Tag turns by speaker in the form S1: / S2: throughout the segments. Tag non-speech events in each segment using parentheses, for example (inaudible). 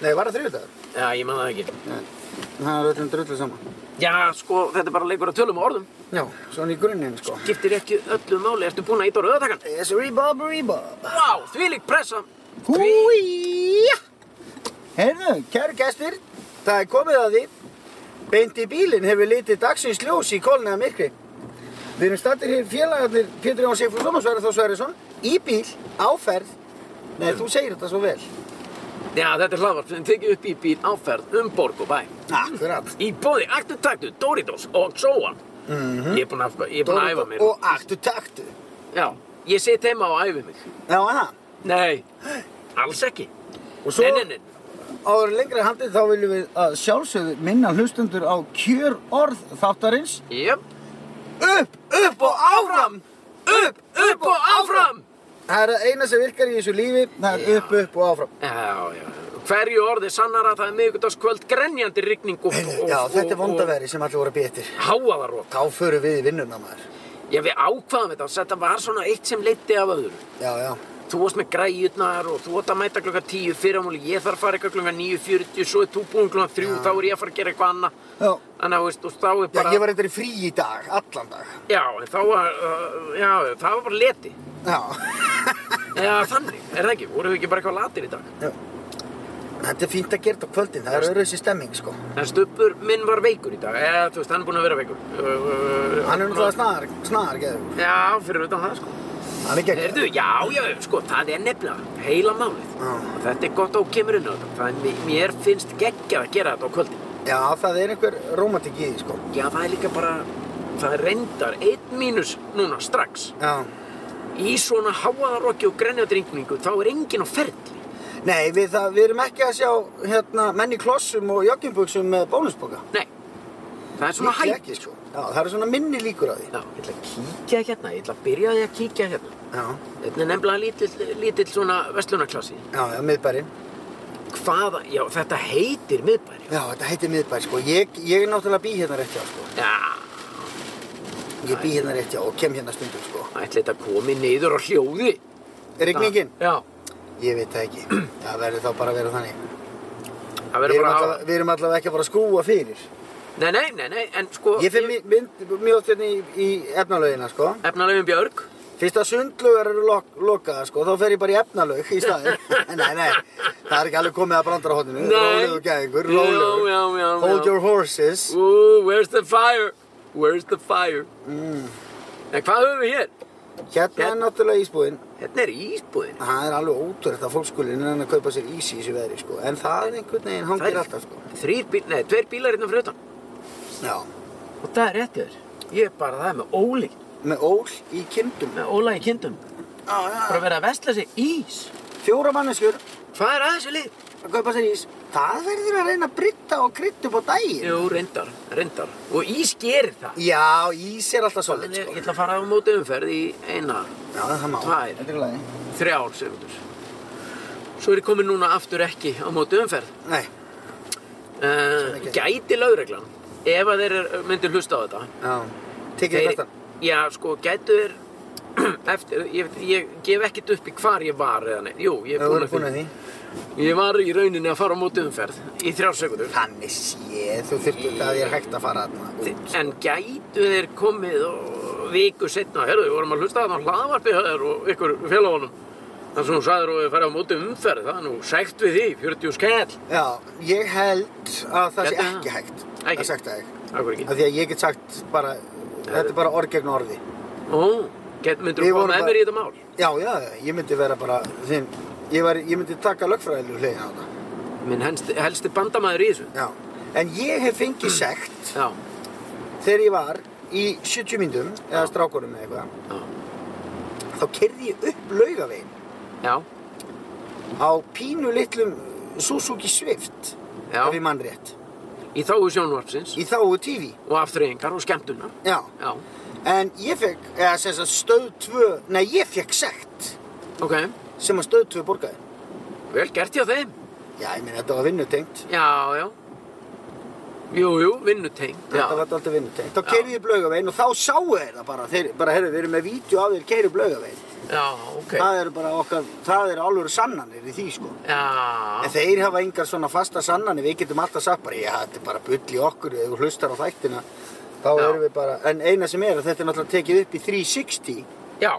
S1: Nei, var það þriðdagur?
S2: Já, ég man það ekki.
S1: Nei, það er öllum drullu saman.
S2: Já, sko, þetta er bara leikur að tölum og orðum.
S1: Já, svona í grunninn, sko.
S2: Skiptir ekki öllu máli, ertu búinn að íta á rauðatakan?
S1: Yes, rebob, rebob.
S2: Vá, þvílík pressa!
S1: Húíja! Heyrðu, kæru gestir, það er komið að því. Beint í bílinn hefur litið dagsins ljós í kólnaða myrkri. Við erum stattir hér félagarnir Pétur Jón Sigfússon og Sverre Þór Sverrisson í bíl, áferð. Nei, þú segir þetta svo vel.
S2: Já, þetta er hlaðvarp sem tekið upp í bíl áferð um borg og bæ.
S1: Akkurat.
S2: Í bóði Aktu Taktu, Doritos og Sóan.
S1: Mhm.
S2: Ég er búinn að, ég er búinn að æfa mér.
S1: Og aktu taktu.
S2: Já, ég sit heima og æfi mig.
S1: Já, aha.
S2: Nei, alls ekki.
S1: Og svo-
S2: Nei, nei, nei.
S1: Áður en lengra er haldið þá viljum við að sjálfsögðu minna hlustendur á kjör orð þáttarins.
S2: Jöp.
S1: Upp, upp og áfram!
S2: Upp, upp og áfram!
S1: Það er það eina sem virkar í þessu lífi, það er upp, upp og áfram.
S2: Já, já. Hverju orði sannara það er miðvikudagskvöld grenjandi rigning og... og-
S1: Já,
S2: og-
S1: þetta er
S2: og-
S1: vondaværi sem allir voru að betur.
S2: Hávaðarok.
S1: Þá förum við í vinnuna maður.
S2: Já, við ákvaðum þetta, þetta var svona eitt sem leiddi af öðru.
S1: Já, já.
S2: Þú varst með græjurnar og þú átt að mæta klokka 10 fyrir ámúli, ég þarf að fara eitthvað klokka 9.40, svo er þú búinn klokka 3, þá er ég að fara að gera eitthvað annað.
S1: Já.
S2: Þannig að, þú veist, og þá
S1: Já,
S2: er bara...
S1: ég var eitthvað í frí í dag, allan dag.
S2: Já, en þá var, uh, já, það var bara leti.
S1: Já.
S2: Eða þannig, er það ekki? Vorum við ekki bara eitthvað latir í dag?
S1: já. Þetta er fínt að gera þetta á kvöldin, það er öðruvísi stemming, sko.
S2: En stubbur minn var veikur í dag, eða þú veist, hann er búinn að vera veikur. Uh, uh,
S1: Hann er um það snar, snar, geður.
S2: Já, fyrir utan það, sko.
S1: Hann er gegn.
S2: Heyrðu, já, já, sko, það er nefnilega heila málið.
S1: Já.
S2: Og Þetta er gott á kemurinu þetta. Það er, mér finnst geggjað að gera þetta á kvöldin.
S1: Já, það er einhver romantik í því, sko.
S2: Já, það er líka bara, það er reyndar einn mínus núna strax.
S1: Já.
S2: Í svona háaðarokki og grenjadringningu þá er enginn á ferli.
S1: Nei, við, það, við erum ekki að sjá hérna, menn í klossum og joggingbuksum með bónusboka.
S2: Nei, það er svona
S1: Líklega
S2: hægt.
S1: Ekki, sko. Já, það eru svona minni líkur á því.
S2: Já, ég ætla að kíkja hérna, ég ætla að byrja á því að kíkja hérna.
S1: Já,
S2: Þetta er nefnilega lítill, lítill svona vestlunarklassi.
S1: já, já miðbærin.
S2: Hvaða, já, þetta heitir miðbæri.
S1: Já, þetta heitir miðbær, sko. Ég, ég er náttúrulega bý hérna rétt hjá, sko.
S2: Já,
S1: Ég bý hérna rétt hjá og kem hérna stundum, sko.
S2: ætla þetta komi niður á hljóði.
S1: Rigningin?
S2: Já,
S1: Ég veit það (clears throat) ekki. Það verður þá bara að vera þannig. Við
S2: það verður
S1: erum,
S2: bara að
S1: allavega, við erum allavega ekki að fara að skrúa fyrir.
S2: Nei, nei, nei, nei, en sko...
S1: Sko, Ég finn mi- mynd mjög oft hérna í, í efnalögina, sko.
S2: Efnalöfum Björg.
S1: Fyrst að sundlögar eru lok, lokaða sko, þá fer ég bara í efnalög í
S2: (laughs)
S1: staðinn. nei, nei, það er ekki alveg komið að brandara hóttinu.
S2: Nei.
S1: Rólegur gæðingur,
S2: Já,
S1: rólegur.
S2: já, já,
S1: Hold
S2: já.
S1: your horses.
S2: Ooh, where's the fire? Where's the fire?
S1: Mm.
S2: En hvað höfum við hér?
S1: Hérna er
S2: Hérna.
S1: náttúrulega ísbúðin.
S2: Þetta er ísbúðin.
S1: Það er alveg ótrúlegt að fólk skuli innan að kaupa sér ís í þessu veðri sko. En það er einhvern veginn
S2: Það
S1: hangir
S2: er-
S1: alltaf sko.
S2: Þrýr bíl, nei, tveir bílar innan fyrir utan.
S1: Já.
S2: Og það er réttið þér. Ég er bara það með Óli,
S1: Með ól í kindum.
S2: með Óla í kindum.
S1: Já,
S2: Bara að vera að vesla sér ís.
S1: Fjóra manneskjur
S2: Hvað er aðeins við lið?
S1: að kaupa sér ís. Það verður að reyna að brytta og krytta upp á daginn.
S2: Jú, reyndar, reyndar. Og ís gerir það.
S1: Já, ís er alltaf
S2: En
S1: svolít
S2: Ég ég
S1: sko.
S2: ætla að fara á móti umferð í eina,
S1: Já, það má.
S2: Tvær.
S1: Þetta er í lagi.
S2: þrjár segundur. Svo er ég komin núna aftur ekki á móti umferð.
S1: Nei,
S2: Uh,
S1: ekki.
S2: gæti lögreglan ef að þeir eru- myndu hlusta á þetta
S1: já. Tekið þetta.
S2: já sko gætu þeir (clears throat) eftir, ég, ég gef ekkert upp í hvar ég var eða neitt, jú ég
S1: Við
S2: er búin
S1: vorum
S2: að
S1: búin að
S2: því
S1: því.
S2: ég var í rauninni að fara á móti umferð í þrjár sekundur
S1: Þannig sé, þú þurftu það er hægt að fara þarna. út.
S2: en gætu þeir komið og viku setna, herru við vorum að hlusta á þannig hlaðvarpi höður og ykkur félagunum þannig sem hún sagður og við færum á móti umferð það er nú sækt við því, 40 skell
S1: Já, ég held að það sé
S2: Gæti það?
S1: ekki hægt
S2: Ekki?
S1: að sagt það ekki.
S2: Akkur ekki.
S1: Af því að ég get sagt bara, þetta er bara orð gegn orði.
S2: Ó, get, myndur
S1: Við
S2: þú
S1: vorum
S2: koma með
S1: bara-
S2: mér í þetta mál?
S1: Já, já, ég myndi vera bara þinn, ég, var, ég myndi taka lögfræðilegu hliðin á þetta.
S2: Minn helsti, helsti bandamæður í þessu.
S1: Já, en ég hef fengið sekt
S2: Já,
S1: þegar ég var í 70 myndum, eða strákunum eða eitthvað,
S2: já,
S1: þá kerði ég upp laugavegin
S2: já,
S1: á pínu litlum Suzuki Swift,
S2: Já.
S1: ef ég mann rétt,
S2: í þáu sjónvarpsins
S1: í þáu TV.
S2: og aftreyingar og skemmtunar.
S1: Já,
S2: Já,
S1: En ég fekk, eða sem sagt stöð 2, nei ég fekk sekt
S2: ok,
S1: sem að stöð 2 borgaði.
S2: vel gert hjá þeim.
S1: Já, ég meina þetta var vinnutengt.
S2: Já, já. Jú, jú, vinnutengt, já.
S1: Þetta var alltaf vinnutengt. Þá
S2: Já.
S1: keyrið ég blögavegin og þá sáu þeir það bara, þeir bara, herru, við erum með vídeo af þér keyrið blögavegin.
S2: já, ok.
S1: Það eru bara okkar, það eru alveg sannanir í því sko. En
S2: Já,
S1: þeir hafa engar svona fasta sannanir, við getum alltaf sagt bara, já, þetta er bara bull í okkur, ef þú hlustar á þættina, þá
S2: Já.
S1: erum við bara, en eina sem er að þetta er náttúrulega tekið upp í 360,
S2: já,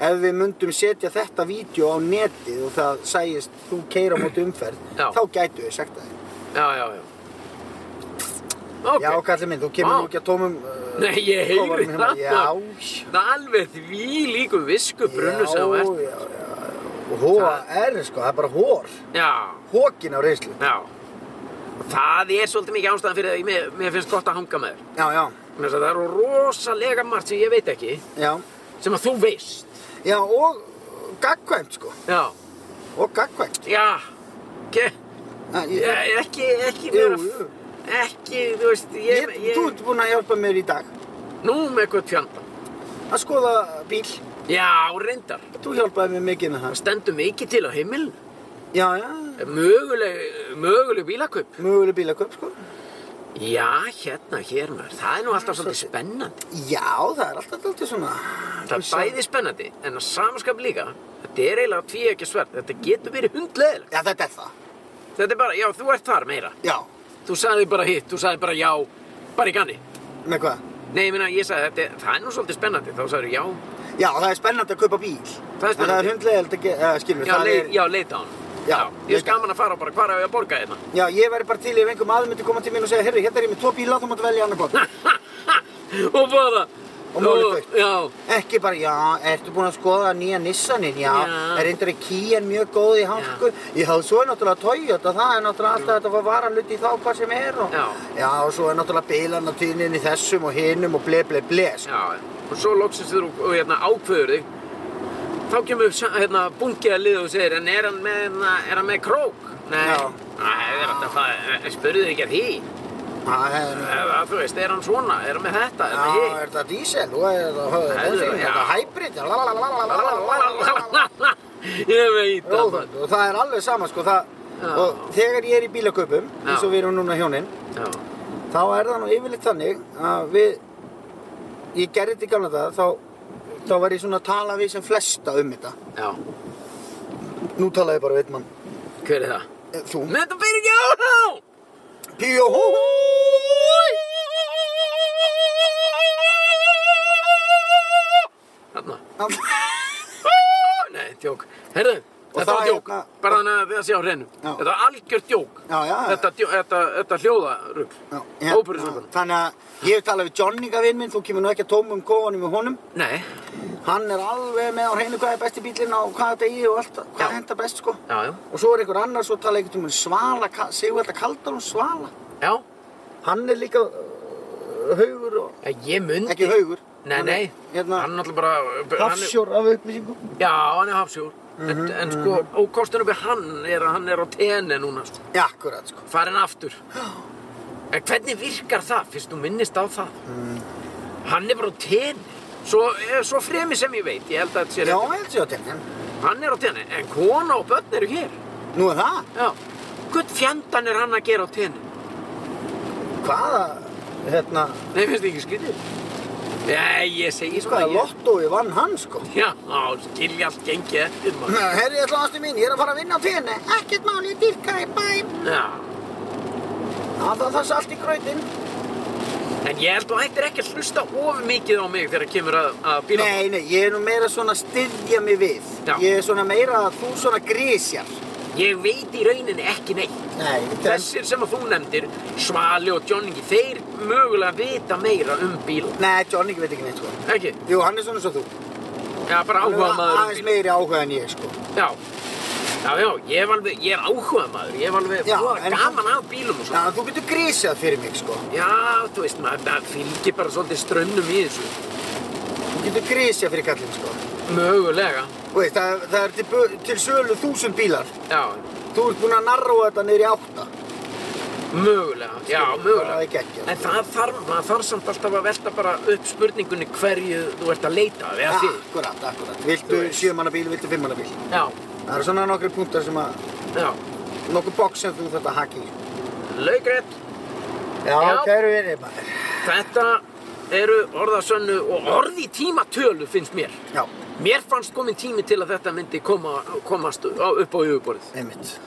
S1: ef við myndum setja þetta vídeo á netið og það sæjist þú keira á móti umferð,
S2: Já.
S1: þá gætu við sagt það.
S2: já, já, já. Ok.
S1: Já, kallið minn, þú kemur
S2: Vá.
S1: nú ekki að tómum... Uh,
S2: Nei, ég heyri
S1: kofanum heima.
S2: það.
S1: Já,
S2: Það er alveg því líku visku brunnu sem þú ert.
S1: já, já, já. Og hóa er, sko, það er bara hór,
S2: Já,
S1: hókin á reynslu.
S2: já. Og Það er svolítið mikið ástæðan fyrir því mér, mér finnst gott að hanga með þér.
S1: Já, já,
S2: Vegna þess að Það eru rosalega margt sem ég veit ekki,
S1: já.
S2: sem að þú veist.
S1: Já, og gagkvæmt, sko,
S2: Já,
S1: og gagkvæmt.
S2: já, ekki,
S1: Já, ég-
S2: ekki, ekki
S1: Jú,
S2: vera,
S1: jú.
S2: ekki, þú veist,
S1: Ég,
S2: ég,
S1: þú
S2: ég,
S1: ert búinn að hjálpa mér í dag
S2: nú með eitthvað fjanda.
S1: að skoða bíl.
S2: Já, reyndar,
S1: Þú hjálpaði mér mikið með
S2: það
S1: það.
S2: stendur mikið til á heimilinu.
S1: Já, já,
S2: Möguleg, möguleg bílakaup.
S1: möguleg bílaköp, sko.
S2: Já, hérna, hér maður, það er nú alltaf svolítið spennandi.
S1: Já, það er alltaf alltaf svona...
S2: Það er bæði spennandi, en að samaskap líka, þetta er eiginlega tví ekki sverð, þetta getur verið hundleðilegt.
S1: Já, þetta er það.
S2: Þetta er bara, já, þú ert þar meira.
S1: Já,
S2: Þú sagði bara hitt, þú sagði bara já, bara í ganni.
S1: með hvað?
S2: Nei, ég meina, ég sagði þetta, það er nú svolítið spennandi, þá sagði já,
S1: Já, það er spennandi að kaupa bíl. En
S2: Það er
S1: Það
S2: spennandi.
S1: er hundlegilegt að gera, uh, skilur,
S2: já,
S1: það
S2: leið,
S1: er...
S2: já, leita á hann.
S1: Já,
S2: ég er
S1: leita.
S2: skaman að fara á bara, hvar á ég að borga hérna? (laughs)
S1: Já, ég væri bara til ef einhver maður myndi koma til mín og segja, herri, hérna er ég með tvo bíla, þú mátt velja annað gott.
S2: og bara...
S1: Og málið dautt.
S2: Já,
S1: Ekki bara, já, ertu búinn að skoða nýja Nissanin, já,
S2: Já.
S1: er reyndar í Kían mjög góð í hálku, já, svo er náttúrulega Toyota, það er náttúrulega alltaf þetta var varaluti í þá hvað sem er og,
S2: Já.
S1: og svo er náttúrulega bílan á tíðninni í þessum og hinum og ble, ble, ble, sko.
S2: Já, og svo loksins þú og hérna ákveður þig þá kemur upp sa- hérna bungið að liða og segir en er hann með, hérna, er hann með krók? Nei,
S1: Já.
S2: Nei, það er alltaf það, spurðu ekki að því
S1: Það er,
S2: eða þú veist, er hann svona, er hann með þetta, er
S1: já,
S2: hann
S1: er þetta diesel og er þetta
S2: Herðu,
S1: bensín, er
S2: já.
S1: þetta hybrid, já, lalalalalalalalalala.
S2: hitt? Ég veit
S1: Jó,
S2: það
S1: það-
S2: maður.
S1: og það er alveg sama, sko, það,
S2: Já.
S1: og þegar ég er í bílaköpum, eins og
S2: Já.
S1: við erum núna hjóninn,
S2: Já,
S1: þá er það nú yfirleitt þannig að við ég gerði þetta í gamla dag þá, þá var ég svona að tala við sem flesta um þetta
S2: já,
S1: nú tala ég bara við einn mann
S2: hver er það?
S1: Eh, þú
S2: Með þetta fyrir ekki á
S1: Píó húi
S2: Þarna, nei, djók Herðu,
S1: Og
S2: þetta var
S1: það er
S2: djók,
S1: hérna-
S2: bara þannig að það sé á hreinu
S1: Já.
S2: Þetta var algjört djók
S1: Já, já, já.
S2: Þetta, djó- þetta, þetta hljóðarugl Óperusöngvarinn.
S1: þannig að ég hef talað við Johnny gafinn minn, þú kemur nú ekki að tómum kofanum með honum
S2: Nei,
S1: hann er alveg með á hreinu hvað er besti bílinn og hvað þetta í og allt
S2: Já.
S1: hvað henda best sko
S2: já, já,
S1: og svo er einhver annar, svo tala ég eitthvað um svala, Ka- Sigvalda Kaldalón svala
S2: já
S1: hann er líka uh, haugur og
S2: Já, Ég myndi
S1: ekki haugur
S2: Nei,
S1: Hann er,
S2: nei,
S1: hérna,
S2: hann er náttúrulega bara hann er,
S1: hafsjór af upplýsingum
S2: Já, hann er hafsjór en, en
S1: Mhm,
S2: sko, ókostinu við hann er að hann er á tenni núna sko.
S1: já, akkurat sko
S2: Farin aftur En hvernig virkar það, fyrst þú minnist á það? Hann er bara á tenni Svo, eh, svo fremi sem ég veit, ég held að þetta sé
S1: já,
S2: rétt.
S1: held sér á tegnin
S2: Hann er á tenni, en kona og börn eru hér
S1: nú er það
S2: Já, hvern fjandan er hann að gera á tenni?
S1: hvaða hérna
S2: Nei, finnst þið ekki skrítið? Nei, ég segi svona
S1: hvaða
S2: ég-
S1: lottói vann hann sko
S2: Já, skilja allt gengið eftir
S1: (laughs)
S2: maður.
S1: herri, ég ætla ástu mín ég er að fara að vinna á tenni ekkert mál ég dýrka í bæ já,
S2: Já,
S1: það það salt í gröðin
S2: en ég held að þú ættir ekki að hlusta of mikið á mig þegar kemur að, að bíla.
S1: nei, nei ég er nú meira svona að styðja mig við
S2: Já.
S1: ég er svona meira að þú svona grísjar
S2: Ég veit í rauninni ekki neitt.
S1: nei, þess
S2: Þessir sem að þú nefndir, Svali og Johnningi, þeir mögulega vita meira um bíla.
S1: nei, Johnny veit ekki neitt sko
S2: Ekki?
S1: jú, hann er svona eins og þú
S2: Já, bara
S1: Hann er
S2: áhuga maður um
S1: aðeins
S2: bíla.
S1: meiri áhuga en ég sko
S2: Já. Já, já, ég er alveg, ég er áhuga maður, ég er alveg
S1: Já,
S2: voða
S1: en-
S2: gaman af bílum og
S1: já,
S2: svona.
S1: þú getur grísjað fyrir mig sko
S2: Já, þú veist, maður, það fylgir bara svolítið strönnum í þessu.
S1: Þú getur grísja fyrir kallinn, sko.
S2: Mögulega.
S1: Þú veist, það, það er til, bu- til sölu þúsund bílar.
S2: Já,
S1: Þú ert búinn að narróa þetta niður í átta.
S2: mögulega. Já, mögulega.
S1: Það er geggjað.
S2: En það þarf, maður þarf samt alltaf að velta bara upp spurningunni hverju þú ert að leita að, eða þið.
S1: Akkurat, akkurat.
S2: Þú
S1: Viltu
S2: veist.
S1: sjömanna bíl, viltu fimmanna bíl.
S2: Já,
S1: Það eru svona nokkri punktar sem að,
S2: já.
S1: nokkur box sem þú þarft að haka í.
S2: Laugrætt,
S1: Já,
S2: Já.
S1: kæru verið maður.
S2: þetta eru orðasönnu og orði tímatölu finnst mér.
S1: Já,
S2: Mér fannst komin tími til að þetta myndi koma, komast á, upp á yfirborðið.
S1: Einmitt.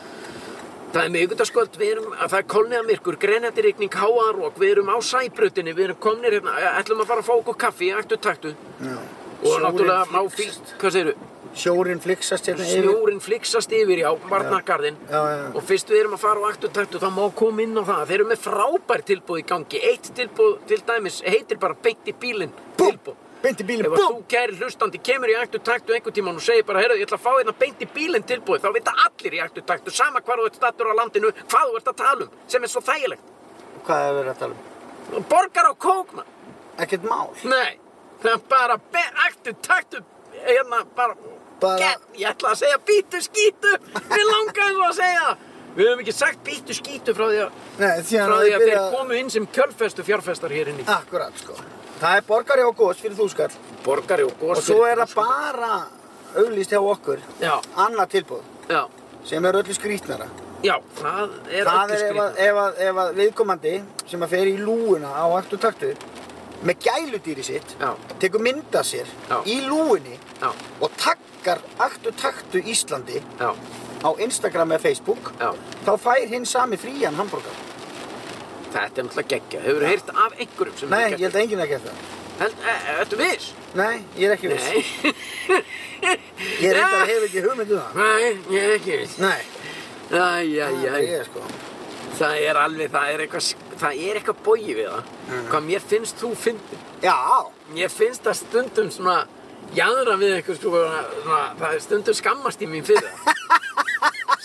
S2: Það er miðugutaskvöld, við erum, að það er kolniða myrkur, grenjadirikning, háarok, við erum á sæbrutinni, við erum komnir hérna, ætlum að fara að fá okkur kaffi, ættu taktu.
S1: Já.
S2: Og
S1: Sjórinn
S2: náttúrulega má
S1: flixast.
S2: fínt, hvað segirðu,
S1: Sjórinn flixast hérna yfir.
S2: snjórin flixast yfir, já, varnargarðinn.
S1: Já, já, já.
S2: Og fyrst við erum að fara á ættu taktu, þá má koma inn á það. Þeir eru með frábær tilbúð í gangi, eitt tilbúð til dæmis, heitir bara beint í bílinn,
S1: Búm!
S2: tilbúð.
S1: Beint í bílinn,
S2: Ef að
S1: búm!
S2: þú kæri hlustandi kemur í ættu taktu einhvern tíman og segir bara, heyrðu, ég ætla að fá hérna beint í bílinn tilbúið, þá vita allir í ættu taktu, sama hvar þú ert stattur á landinu, hvað þú ert að tala um, sem er svo þægilegt.
S1: Hvað er verið að tala um?
S2: Borgar á kókna?
S1: Ekkert mál.
S2: Nei, það er bara ættu taktu, hérna, bara,
S1: Bara-
S2: Get, ég ætla að segja bítu skítu, við langaðum svo að segja það. Við höfum ekki sagt bítu skítu frá því að,
S1: Nei, síðan
S2: frá
S1: að
S2: því
S1: ég
S2: að þeir
S1: byrja...
S2: komu inn sem kjölfestu fjárfestar hér inn í.
S1: Akkurat, sko. Það er borgari á gos fyrir þúskall.
S2: Borgari og góð.
S1: Og svo er það bara auglýst hjá okkur.
S2: Já,
S1: Annað tilbúð.
S2: já,
S1: Sem er öllu skrýtnara.
S2: já, það er
S1: Það
S2: öllu
S1: er ef
S2: skrýtna.
S1: að, ef, að, ef að viðkomandi sem að fer í lúuna á akt og taktu með gæludýri sitt
S2: Já.
S1: tekur mynda sér
S2: Já.
S1: í lúunni
S2: Já,
S1: og takkar akt og taktu Íslandi
S2: já,
S1: á Instagram eða Facebook
S2: já.
S1: þá fær hinn sami frían hambúrgar.
S2: Þetta er náttúrulega geggja. Hefur þú heyrt af einhverjum sem
S1: Nei, ég held að enginn hafi gert það.
S2: Held, e, e, Þetta viss?
S1: Nei, ég er ekki viss.
S2: Nei. Ah!
S1: Ég reyndar hef ekki hugmynd um það.
S2: (laughs) Nei, ég er ekki viss.
S1: Nei,
S2: Æ, æ,
S1: það er
S2: æ.
S1: Ah, ég sko.
S2: Það er alveg, það er eitthvað, sk- það er eitthvað bógi við það.
S1: Mm.
S2: Hvað mér finnst þú fyndin?
S1: Já,
S2: Mér finnst það stundum svona, jáðra við eitthvað sko, svona, það er stundum skammast í mín fyrir
S1: (laughs)
S2: það.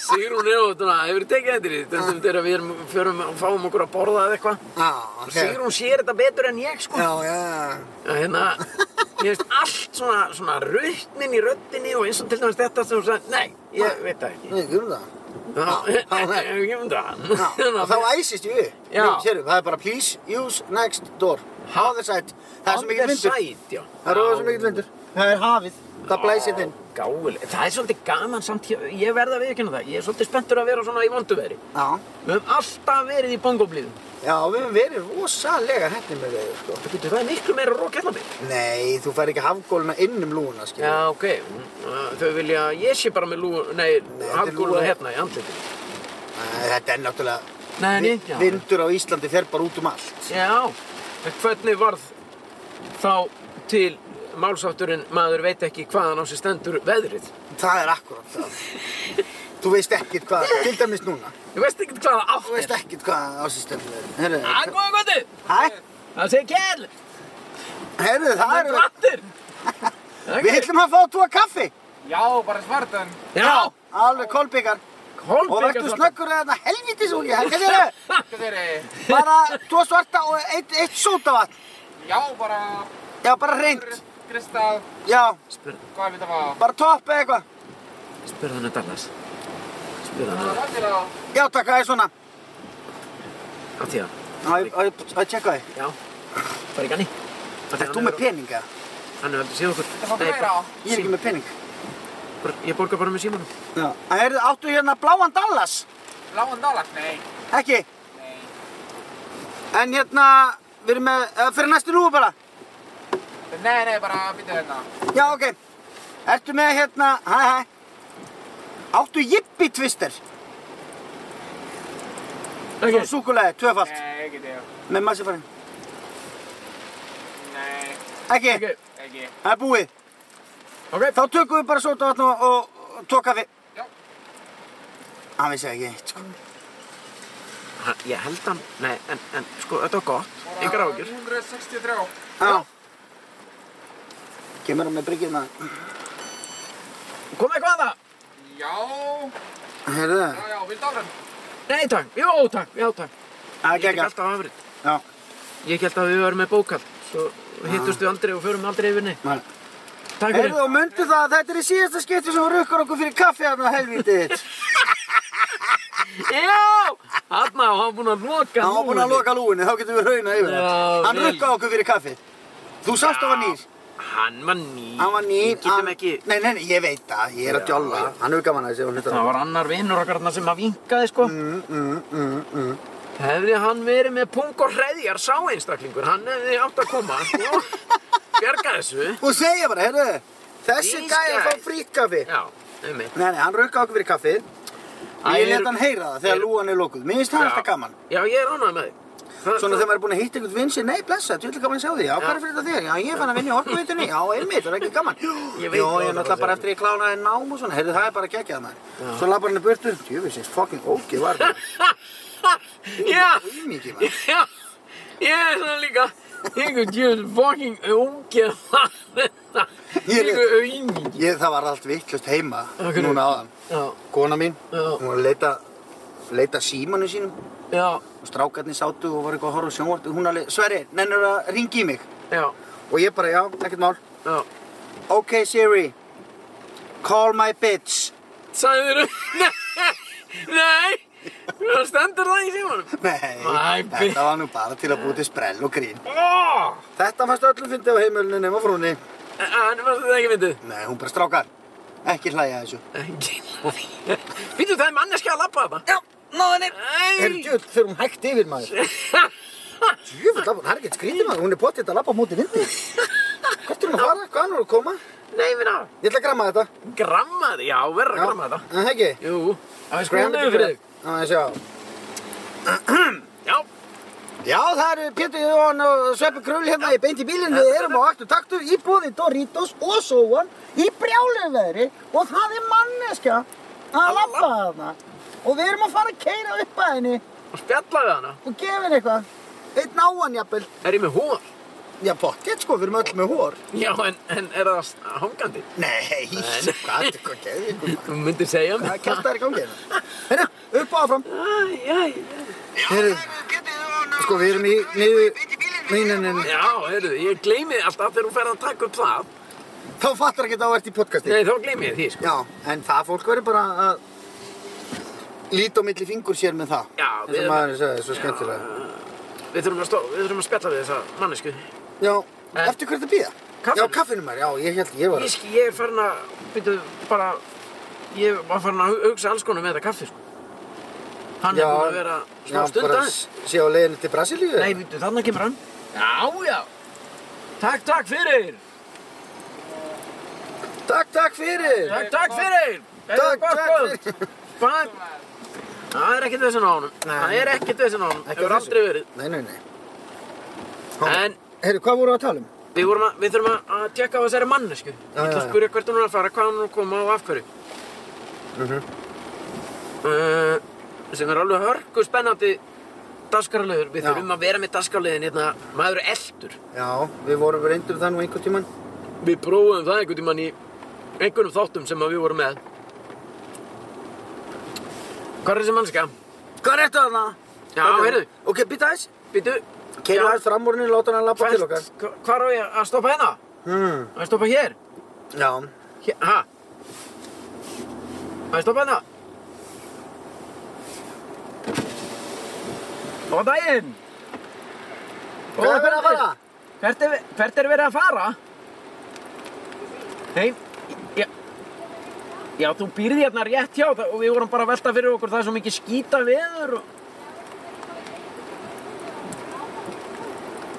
S2: Sigrún er og svona, hefur tekið eftir því, stundum þegar við erum, förum og fáum okkur að borða eða eitthvað.
S1: já,
S2: Og
S1: já,
S2: Sigrún sér þetta betur en ég sko.
S1: já, já,
S2: að hérna, ég veist allt svona, svona ruttnin í röttinni og eins og til dæmis þetta sem þú sagði, nei, ég veit það ekki.
S1: við gerum um það.
S2: Þá,
S1: já, nei.
S2: (laughs) ég veit það.
S1: Já, og þá æsist ég upp.
S2: Já.
S1: Nú, Sérðu, það er bara please use next door.
S2: Ha?
S1: How the side. Það er svo mikið vindur.
S2: Sæt, já.
S1: Það er rosa svo mikið vindur. Það er hafið. Það blæsir þinn.
S2: Gáðileg. Það er svolítið gaman samt, ég, ég verða að viðkynna það. Ég er svolítið spenntur að vera svona í vonduveri.
S1: Já.
S2: Við höfum alltaf verið í bongoblíðum.
S1: Já, við höfum verið rosalega heppni með veður, sko.
S2: Það getur það er miklu meira rók hérna mig.
S1: Nei, þú fær ekki hafgóluna inn um lúna, skilju.
S2: Já, ok. Mm, Þau vilja, að ég sé bara með lú, nei,
S1: þetta er
S2: hafgóluna
S1: lúa-
S2: hérna í andliti.
S1: Æ, Þetta er náttúrulega...
S2: Nei, nei,
S1: vi-
S2: já.
S1: Vindur á Íslandi fer bara út um allt.
S2: Já, en hvernig varð þá til málsátturinn maður veit ekki hvaðan á sér stendur veðrið?
S1: Það er akkurat það. þú veist ekkert hvað, til dæmis núna.
S2: Ég veist ekkert hvaða átt
S1: Þú veist
S2: er.
S1: ekkert hvað ásistöfnum er. Herru,
S2: Það er góða gotið!
S1: hæ?
S2: Það segir kell!
S1: Herru, það
S2: Það er
S1: eru... (laughs)
S2: drattir!
S1: Við ætlum að fá tvo kaffi.
S3: Já, bara svartan.
S2: Já,
S1: Alveg kolbyggar. Og
S2: Kolbyggar
S1: verður snöggur eða þarna helvitis úr ég, hætti þér
S2: (laughs)
S3: Hvað þeir eru?
S1: Bara tvo svarta og eitt, eitt sótavatn.
S3: Já, bara...
S1: Já, bara reynd.
S3: Kristal,
S1: Já,
S2: Spurð
S3: hvað er þetta var?
S1: bara topp eða eitthvað.
S2: spurð hann að Dallas. Spurð hann um
S3: Það
S2: að
S3: var til að...
S1: Já, takk, það er svona.
S2: Af því að,
S1: Á, ég- á, ég- á, ég tjekka því.
S2: já, fara í ganni.
S1: Ert þú með pening eða?
S2: Hann er aldrei síðan okkur.
S3: Það var
S2: Nei,
S3: fleira á.
S1: Ég er ekki með pening.
S2: bara- Ég borga bara með símanum.
S1: Já. Það er, áttu hérna bláan Dallas?
S3: Lágan dólar. Nei,
S1: Ekki.
S3: nei.
S1: En hérna, við erum með, uh, fyrir næstu lúgu bara.
S3: Nei, nei, bara býta hérna.
S1: Já, ok. Ertu með hérna, hæ, hæ. Áttu jippi twister? Svona
S2: Ok,
S1: súkulæði, tvöfalt.
S3: Nei, ekki þér.
S1: Með massi farin.
S3: Nei,
S1: Ekki.
S2: ok,
S3: ekki.
S1: Það er búið.
S2: ok.
S1: Þá tökum við bara sótavatn og, og, og tvo kaffi.
S3: Já.
S1: Hann vissi ekki eitt, sko.
S2: Ha- Ég held hann, nei, en, en, sko, þetta var gott.
S3: Bara
S2: Engar ágjur.
S3: 163.
S1: Já. Kemur hann með bryggjum að...
S2: Kom eitthvað að það?
S3: Já,
S1: Herðu
S3: já,
S1: það?
S3: já, viltu áfram?
S2: Nei takk, jó takk, já takk
S1: Það
S2: Ég
S1: er
S2: held
S1: geggjað.
S2: alltaf afrið
S1: Já.
S2: Ég held að við varum með bókald Svo hittust við aldrei og förum aldrei yfirni
S1: Nei.
S2: Takk fyrir
S1: Herðu og mundu það að þetta er í síðasta skipti sem þú rukkar okkur fyrir kaffi þarna helvítið þitt.
S2: Já, hann var búinn að loka
S1: Hann var búinn að
S2: lúgunni.
S1: loka lúgunni, þá getum við rauna yfir
S2: Já,
S1: það. Hann
S2: vel.
S1: rukkaði okkur fyrir kaffi. Þú sást að hann var nýr.
S2: Hann var nýr
S1: Hann var nýr.
S2: Við getum
S1: hann-
S2: ekki
S1: Nei, nei, nei, ég veit það. Ég er að
S2: Já,
S1: djólla.
S2: já.
S1: Hann hugga manna þessi og hluta.
S2: Það var annar vinnur okkar þarna sem að vinkaði sko
S1: Mm, mm, mm, mm.
S2: Hefði hann verið með pung og hreðjar sá
S1: (laughs)
S2: einstaklingur Hann hefði átt að koma sko Bjarga þessu
S1: Og segja bara, herðu, Þessi
S2: These
S1: gæjar
S2: guys.
S1: fá frýtt kaffi.
S2: Já, einmitt.
S1: Nei, nei, hann rukka okkur fyrir kaffið.
S2: Æ,
S1: Og ég
S2: eru-
S1: let hann heyra það þegar
S2: eru-
S1: lúan er lokuð. Mér finnst það alltaf gaman.
S2: Já, ég er ánægð með þig. Það-
S1: Svona
S2: það-
S1: þegar maður er búinn að hitta einhvern vinn sér, nei blessa, þú ætla gaman að sjá því, já hvað er fyrir þetta þér, já ég fann að vinna í orkuveitunni, já einmitt, það er ekki gaman. Jú,
S2: Ég
S1: ég er
S2: veit það, það
S1: náttúrulega
S2: var
S1: bara
S2: það.
S1: eftir ég klánaði nám og svona, heyrðu það er bara geggjað maður.
S2: Já.
S1: Svo lappar hann í burtu, djöfis, þessi fucking ógi var það.
S2: (laughs) Já,
S1: Mikið maður.
S2: (laughs) já, ég er svona líka. Ykkur djöfn fucking ógeð þetta.
S1: Ég er-
S2: Ykkur auðingi.
S1: Ég, það var allt vittlust heima,
S2: Af hverju?
S1: núna áðan.
S2: Já,
S1: Kona mín,
S2: Já.
S1: hún var að leita, leita símanu sínum
S2: já,
S1: og strákarnir sátu og var eitthvað að horfa á sjónvartu. Hún alveg, Sverri, nennur að ringi í mig.
S2: já,
S1: Og ég bara, já, ekkert mál.
S2: já.
S1: Ok Siri, call my bitch.
S2: Sæður, nei, (laughs) nei, það stendur það í símanum.
S1: Nei,
S2: My bitch.
S1: þetta var nú bara til að búti sprell og grín. Ah!
S2: Ó,
S1: Þetta fannst öllum fyndið á heimilinu nema frúni.
S2: hann fannst þetta ekki myndið.
S1: Nei, hún bara strákar. Ekki hlæja að þessu.
S2: Býtu, það er manneskja að labba þetta.
S1: Já, náðan er. Er
S2: Nei,
S1: djöld þegar hún hægt yfir maður. Djöfull, labba- það er ekkert skrítið maður. Hún er potið að lappa á móti vindi. Hvert er hún að fara? Hvað er hún að koma?
S2: (laughs) nei, minna,
S1: Ég ætla að gramma þetta.
S2: grammaði, já, verður að gramma þetta.
S1: Já, en það ekki?
S2: Jú, það er sko nefnir fyrir þig.
S1: Já, ég sjá.
S2: Já,
S1: Já, það eru Pétur Jóhann og Sveppi Krull hérna í beint í bílinn. Við erum á aktu taktu í búði Doritos og Sóan í brjáluveðri og það er manneska að labba þarna. Og við erum að fara að keira upp að henni
S2: og spjalla við hana.
S1: og gefa henni eitthvað. Eitt náan jafnvel.
S2: Er ég með húar?
S1: Já, pottþétt sko, við erum öll með hór.
S2: Já, en, en er það s- hangandi?
S1: Nei,
S2: Nei.
S1: hvað er þetta geðvíkur?
S2: Þú myndir segja mér
S1: Hvað kæft það er í gangi hérna? Herru, upp og áfram.
S2: Æ, æ,
S1: Herru, sko, við erum í niður mínunin.
S2: æ. Já, heyrðu, ég gleymi alltaf þegar þú ferð að taka upp það.
S1: Þá fattar ekki að það ert í podcasti.
S2: Nei, þá gleymi ég því, sko.
S1: Já, en það fólk verður bara að líta á milli fingur sér með það.
S2: Já,
S1: við... Þessum
S2: við-
S1: maðurinn sagði, svo skemmtilega.
S2: Við þurfum að, stó, við þurfum að spjalla við þessa mannesku.
S1: Já, eftir hvert að býða?
S2: Kaffinu?
S1: Já, kaffinu maður, já, ég held, ég var
S2: Ég, sk- ég er farin að, byrju, bara, ég var farin að hu- hugsa alls konar með þetta kaffi, sko. Hann er búinn að vera smá
S1: já,
S2: stund
S1: bara
S2: aðeins.
S1: Sé á leiðinu til Brasilíu?
S2: Nei, byrju, þannig kemur hann. Já, já. Takk, takk fyrir.
S1: Takk, takk fyrir!
S2: Takk, takk fyrir.
S1: Takk, takk
S2: fyrir. Hvað? Það er ekkert þessin á honum.
S1: Nei.
S2: Það er ekkert þessin á honum.
S1: Ekki
S2: Það er
S1: þessu.
S2: aldrei verið.
S1: Nei, nei, nei.
S2: En
S1: Herru, hvað voru að tala um?
S2: við, vorum að, við þurfum að, að tjekka á þessari mannesku. Ég
S1: já,
S2: ætla að
S1: já.
S2: spyrja hvert hún er að fara, hvað hún er að koma og af hverju. Mhm. uh, sem er alveg hörku spennandi dagskarlegur. Við
S1: Já.
S2: þurfum að vera með dagskarlegin hérna, maður er eldur.
S1: Já, við vorum reyndur það nú einhvern tíman.
S2: Við prófum það einhvern tímann í einhvernum þáttum sem að við vorum með. Hvað er þessi mannska?
S1: Hvað er þetta þarna?
S2: Já,
S1: Þetta er-
S2: heyrðu.
S1: Ok, býta aðeins.
S2: Býtu,
S1: Keirum
S2: Já.
S1: aðeins fram úr henni, láta hann að lappa til okkar.
S2: hvað á ég að stoppa hérna?
S1: Hmm,
S2: Á ég Að stoppa hér?
S1: já.
S2: Hér, ha? Á ég Að stoppa hérna? Góðan daginn!
S1: Hvað er að fara?
S2: Hvert er, hvert er verið að fara? Nei, já, já þú býrði hérna rétt hjá það og við vorum bara að velta fyrir okkur það er svo mikið skýta veður og...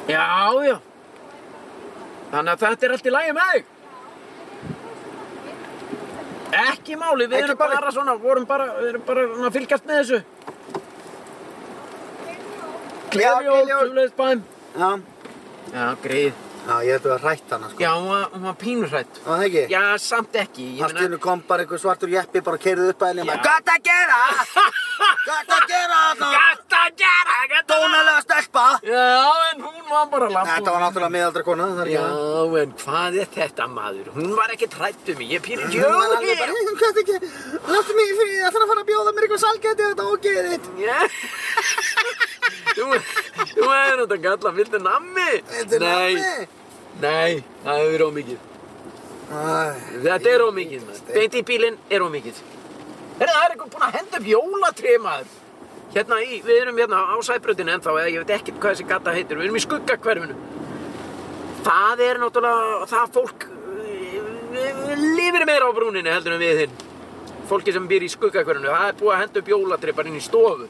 S2: Já, já. Þannig að þetta er allt í lagi með þig. Ekki máli, við
S1: Ekki
S2: erum
S1: máli.
S2: bara svona, vorum bara, við erum bara svona að fylgjast með þessu. Gleðjól,
S1: gleðjól.
S2: tjúleðisbæm.
S1: Já,
S2: Já, greið.
S1: já, ég ætti að rætt hana, sko.
S2: Já, hún var, hún var pínurrætt.
S1: Var það ekki?
S2: Já, samt ekki. Ég
S1: Allt í
S2: meina,
S1: hennu kom bara einhver svartur jeppi, bara keirði upp að henni og
S2: Já.
S1: maður Hvað það
S2: (laughs)
S1: gera? Hvað það gera þarna?
S2: gætt að gera, gætt að gera.
S1: Dónalega stelpa!
S2: Já, en hún var bara
S1: Nei,
S2: lamp.
S1: Þetta var náttúrulega miðaldra kona, það er
S2: Já,
S1: ekki hann.
S2: en hvað er þetta maður? Hún var ekkert hrætt um mig, ég pýrir
S1: Hún var alveg
S2: djóðir.
S1: bara, hvað það gera? Láttu mig í frið, það þarf að fara að bjóða mér eitthvað salgæti þetta ógeðið þitt.
S2: Já. Þú, þú hefur þetta galla, viltu nammi?
S1: Þetta er
S2: Nei, nei, það hefur verið ómikið.
S1: nammi.
S2: Þetta er ómikið, maður. Beint í bílinn er ómikið. Herra, það er eitthvað búinn að henda upp jólatré, maður. Hérna í, við erum hérna á sæbrötinu ennþá, eða ég veit ekkert hvað þessi gata heitir. Við erum í skuggakverfinu. Það er náttúrulega, það fólk eh, lifir meira á brúninu heldur en við hinn. Fólki sem býr í skuggakverfinu, það er búið að henda upp jólatré bara inn í stofu.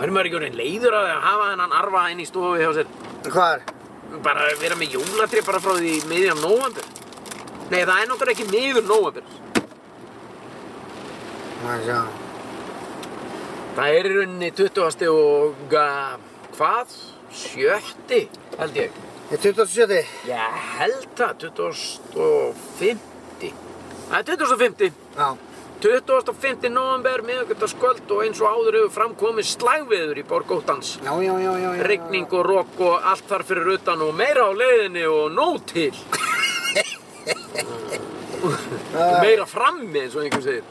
S2: Væri maður ekki orðinn leiður að hafa þennan arfa inn í stofu hjá sér?
S1: Hvað er?
S2: Bara vera með jólatré bara frá því miðjan nóvambur. Nei, það er náttúrulega ekki niður nóvember.
S1: Maður sjá.
S2: Það er í rauninni 20. og uh, hvað? Sjötti, held ég.
S1: Ég 27.
S2: Ég held það, 25. Það er 25.
S1: Já.
S2: 25. november, miðugöldaskvöld og eins og áður hefur framkomið slagveður í borg Óttans.
S1: Já, já, já, já. já.
S2: Rigning og rokk og allt þar fyrir utan og meira á leiðinni og nóg til. Og
S1: Uh,
S2: meira frammi eins og einhver segir.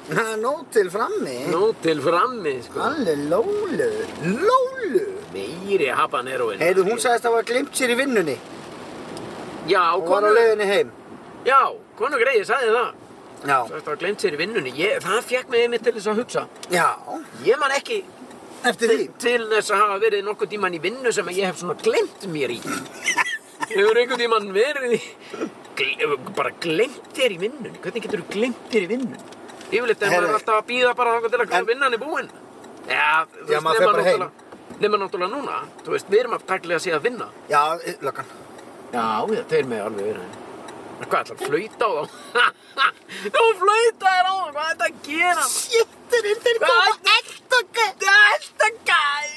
S1: Nót til frammi.
S2: Nóg til frammi, sko.
S1: Allir lólu. Lólu.
S2: Meiri habaneroinn.
S1: Ah. Heyrðu, hún sagðist að hafa glimt sér í vinnunni.
S2: Já,
S1: Og var á
S2: konu,
S1: leiðinni heim.
S2: já, konu greiði sagði það.
S1: Já.
S2: Svo eftir að glemt sér í vinnunni. Ég, það fekk mig einmitt til þess að hugsa.
S1: Já.
S2: Ég man ekki
S1: Eftir því.
S2: til, til þess að hafa verið nokkuð tíman í vinnu sem ég hef svona glemt mér í. (laughs) Hefur einhvern tíman verið í... Gle, bara glemt þér í vinnunni. Hvernig getur þú glemt þér í vinnunni? Yfirleitt er
S1: Herra.
S2: maður alltaf að býða bara þangað til að
S1: En-
S2: vinnan er búinn. Já, þú
S1: Já, maður fer bara heim.
S2: Nefna náttúrulega núna, þú veist, við erum að taklega sig að vinna.
S1: Já, löggan.
S2: Já, já, þeir með alveg verið henni. Hvað ætlar að flauta á þá? (laughs) Þú flautaðir á þá, hvað ætlar að gera?
S1: Sitturinn, þeir
S2: Hvað ætlar-
S1: eldokka.
S2: Þetta gæn!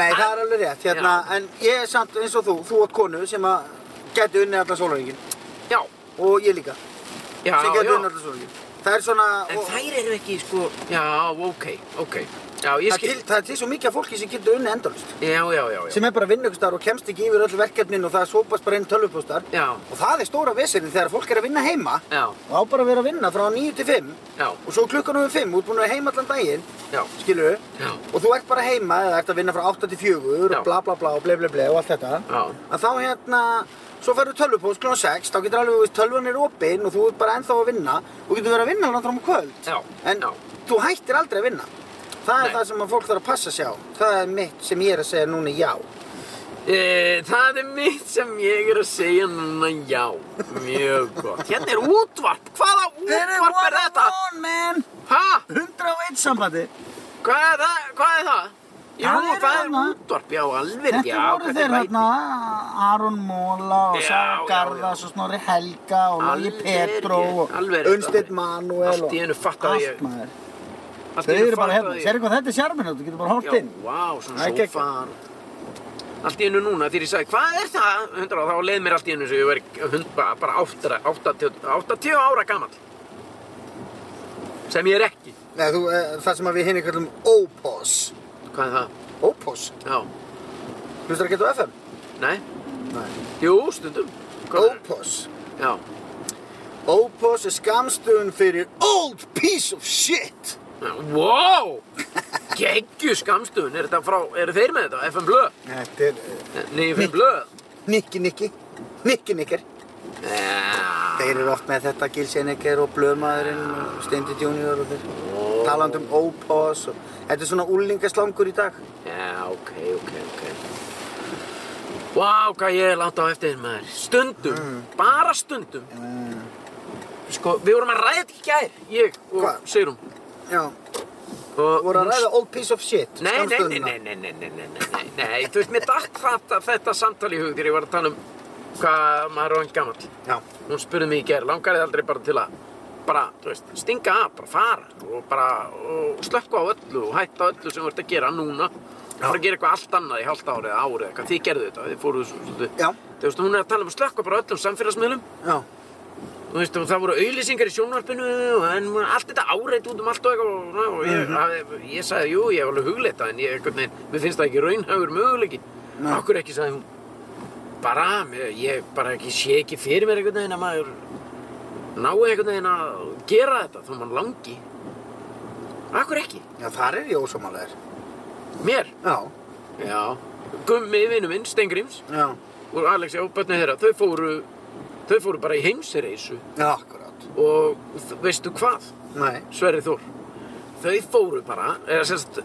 S1: Nei, það er alveg rétt. Hérna, en ég er samt eins og þú. Þú átt konu sem að gæti unni allan sólaringin.
S2: Já,
S1: Og ég líka.
S2: já,
S1: sem gæti
S2: já.
S1: unni allan sólaringin. Það er svona...
S2: En
S1: og-
S2: þær eru ekki, sko, já, ok, ok. Já, ég
S1: Það er,
S2: skil.
S1: til, það er til svo mikið af fólki sem getur unni endalust.
S2: Já, já, já, já.
S1: Sem er bara að vinna ykkur starf og kemst ekki yfir öll verkefnin og það sópast bara inn tölvupóstar.
S2: Já,
S1: Og það er stóra vesenið þegar fólk er að vinna heima
S2: já,
S1: og á bara að vera að vinna frá 9 til 5
S2: já,
S1: og svo klukkan um 5, þú ert búin að vera heima allan daginn,
S2: já,
S1: skilur
S2: já,
S1: og þú ert bara heima eða ert að vinna frá 8 til 4
S2: Já.
S1: og bla bla bla og ble ble ble og allt þetta.
S2: já.
S1: Að þá hérna, svo ferðu tölvupóst klukkan 6, þá getur alveg, þú veist, tölvan er opinn og þú ert bara ennþá að vinna og getur verið að vinna alveg fram á kvöld.
S2: Já,
S1: En
S2: já.
S1: þú hættir aldrei að vinna. Það er
S2: Nei.
S1: það sem að fólk þarf að passa sig á. Það er mitt sem ég er að segja núna já.
S2: E, það er mitt sem ég er að segja núna, já, mjög gott. Hérna er útvarp, hvaða útvarp er þetta?
S1: on, man!
S2: Hæ?
S1: 101 sambandi.
S2: Hvað er það? Hvað er það? Jú,
S1: Það er
S2: það er
S1: þarna.
S2: útvarp, já, alveg
S1: Þetta
S2: já,
S1: voru
S2: hvernig
S1: þeir
S2: veit
S1: hérna, Aron Móla og
S2: Já,
S1: Sara
S2: já,
S1: Garðas
S2: já.
S1: og Snorri Helga og Lagi
S2: Alveg
S1: Petró
S2: rétt,
S1: og
S2: alveg rétt,
S1: Unnsteinn
S2: alveg.
S1: Manuel og
S2: Allt í einu fattaði ég.
S1: allt maður.
S2: ég? Allt í
S1: Þau
S2: einu
S1: eru bara
S2: fattaði
S1: hérna,
S2: ég-
S1: sérðu hvað þetta er sjarminu, þú getur bara
S2: Já,
S1: hort inn.
S2: vá, svona
S1: Það er geggjað.
S2: sófar. Allt í einu núna, þegar ég sagði, hvað er það? Hundra, þá leið mér allt í einu sem ég veri hund, bara- bara 80 ára gamall. Sem ég er ekki.
S1: Nei, þú, eh, það sem að við hinni kallum Opos.
S2: Hvað er það?
S1: Opos?
S2: Já,
S1: Hlustar ekki á FM?
S2: nei,
S1: Nei.
S2: jú, stundum. Hvað er-
S1: Opos.
S2: Já,
S1: Opos er skamstöðun fyrir Old Piece of Shit.
S2: wow, geggju skamstun, er þetta frá, eru þeir með þetta, FM Blöð?
S1: Þetta er eh,
S2: Nei, FM Blöð?
S1: Nikki Nikki. Nikki Nikker.
S2: Já,
S1: Þeir eru oft með þetta Gilsenikker og Blöðmaðurinn og Steindi Junior og þeir.
S2: Ó.
S1: Talandi um Opos og... Þetta er svona úlingaslangur í dag.
S2: Já, ok, ok, ok. Vá, hvað ég er langt á eftir þér, maður. Stundum,
S1: Mm.
S2: bara stundum. Sko, við vorum að ræða þetta í gær, ég og
S1: Hvað?
S2: Sigrún.
S1: Já.
S2: Og
S1: Voru að
S2: hún-
S1: ræða Old Piece of Shit.
S2: Nei, nei, nei,
S1: skammstöfunina.
S2: nei, nei, nei, nei, nei, nei, nei, þú veist, mér datt þetta, þetta samtal í hug þegar ég var að tala um hvað maður er orðinn gamall.
S1: Já.
S2: Hún spurði mig í gær, langar þið aldrei bara til að, bara, þú veist, stinga af, bara fara og bara og slökka á öllu og hætta öllu sem þú ert að gera núna. og Fara að gera eitthvað allt annað í halvt árið eða árið, hvað þið gerðu þetta, þið fóruðu svo, svo,
S1: Já.
S2: þú veist, hún er að tala um að slökka bara á öllum samfélagsmiðlum.
S1: Já.
S2: Þú veist, og það voru auðlýsingar í sjónvarpinu og en allt þetta áreitt út um allt og eitthvað og, svona, og ég, að, ég sagði, jú, ég hef alveg hugleitt það en ég, einhvern veginn, mér finnst það ekki raunhagur möguleiki.
S1: Nei.
S2: Akkur ekki, sagði hún. Bara, mér, ég bara ekki sé ekki fyrir mér einhvern veginn að maður nái einhvern veginn að gera þetta þó mann langi. Akkur ekki,
S1: Já, þar er ég ósámálaðir.
S2: mér.
S1: Já.
S2: Já. Gummi, vinnu minn, Stengrims
S1: Já.
S2: og Alexi og börnið þeirra, þau fóru, þau fóru bara í heimsreisu
S1: Já, akkurát.
S2: og þ- veistu hvað?
S1: Nei.
S2: Sverri Þór þau fóru bara eða, sérst,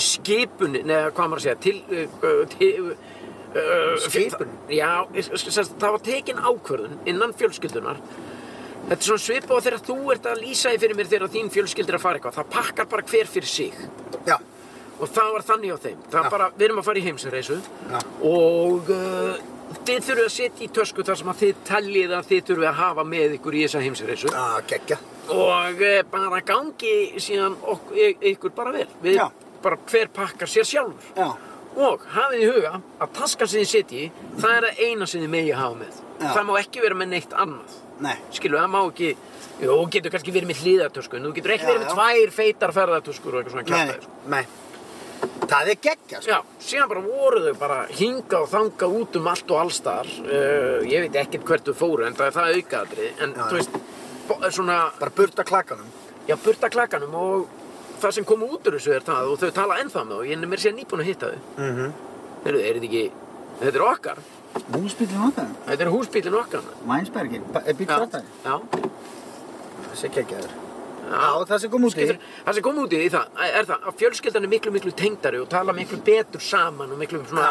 S2: skipun neða hvað maður að segja til, uh, til uh,
S1: Skipun?
S2: já, sérst, það var tekin ákvörðun innan fjölskyldunar þetta er svona svipa og þegar þú ert að lýsa því fyrir mér þegar þín fjölskyldur er að fara eitthvað það pakkar bara hver fyrir sig
S1: Já.
S2: og það var þannig á þeim það
S1: Já.
S2: bara, við erum að fara í heimsreisu
S1: Já.
S2: og uh, þið þurfið að setja í tösku þar sem að þið teljið að þið þurfið að hafa með ykkur í þessa heimsreisu
S1: Á, geggja.
S2: og eh, bara gangi síðan ok, y- ykkur bara vel við
S1: Já.
S2: bara hver pakkar sér sjálfur
S1: Já.
S2: og hafið í huga að taskan sem þið setji það er að eina sem þið megi hafa með
S1: Já.
S2: það má ekki vera með neitt annað
S1: Nei.
S2: skilu, það má ekki jú, þú getur kannski verið með hliðartösku en þú getur ekki
S1: Já,
S2: verið með
S1: já.
S2: tvær feitar ferðartöskur og eitthvað svona
S1: Nei,
S2: kjartaðir
S1: nei. Það er geggja, sko.
S2: Já, síðan bara voru þau bara hinga og þanga út um allt og allstar uh, ég veit ekkert hvert þau fóru en það er það aukaðri en
S1: Já, já.
S2: þú veist, bo- svona
S1: Bara burta klakanum.
S2: Já, burta klakanum og það sem kom út úr þessu er það og þau tala ennþá með og ég er mér sér nýbúin að hitta þau.
S1: Mm -hmm.
S2: Heyrðu, er þetta ekki, þetta er okkar,
S1: Múspillin okkar.
S2: þetta er húsbílinn okkar.
S1: Vænsbergin. Býtt
S2: Já,
S1: þáttan.
S2: já.
S1: Þessi geggjaður. Já, það sem kom út í.
S2: Skiptir, það sem kom út í því það, er það að fjölskyldan er miklu, miklu tengdari og tala miklu betur saman og miklu svona,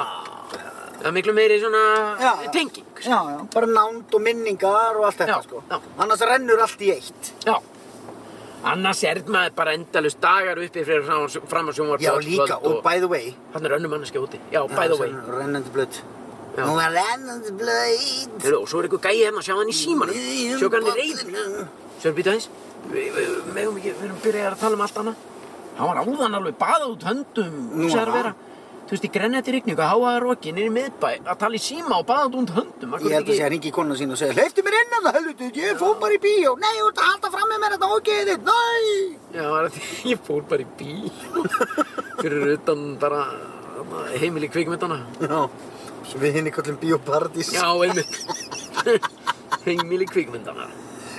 S2: það er miklu meiri svona
S1: Já.
S2: tenging. sko.
S1: Já, já. Bara nánd og minningar og allt þetta,
S2: Já,
S1: sko.
S2: já.
S1: Annars rennur allt í eitt.
S2: Já. Annars er maður bara endalust dagar uppi fyrir fram- fram að sjónvarp.
S1: Já, líka. Og by the way.
S2: Hann er önnum manneski úti. Já, by the way.
S1: Rennandi blöð.
S2: Já.
S1: Hún var rennandi blöð.
S2: Heyrðu, og svo er einhver gæi hérna, sjá hann í símanum,
S1: Í um
S2: sjá hann í reyðinu.
S1: bollinum.
S2: Sér býta aðeins, við, við, megum ekki, við erum byrjaðið að tala um allt annað. Hann var áðan alveg baða út höndum,
S1: Nú,
S2: hugsaður að
S1: aha.
S2: vera. Þú veist, í grennætti rigningu, háaða roki, niður í miðbæ, að tala í síma og baða út höndum.
S1: Ég held að segja hringi í konuna sín og segja Leiftu mér inn að það helviti, ég fór bara í bíó Nei, þú ert að halda fram með mér þetta ógeðið þitt, næ
S2: Já, það var að því- (laughs) ég fór bara í bíl, fyrir utan bara þarna, heimili kvikmyndana.
S1: Já, svo við hinn í kollum bíóparadís
S2: Já, einmitt. (laughs) heimili kvikmyndana.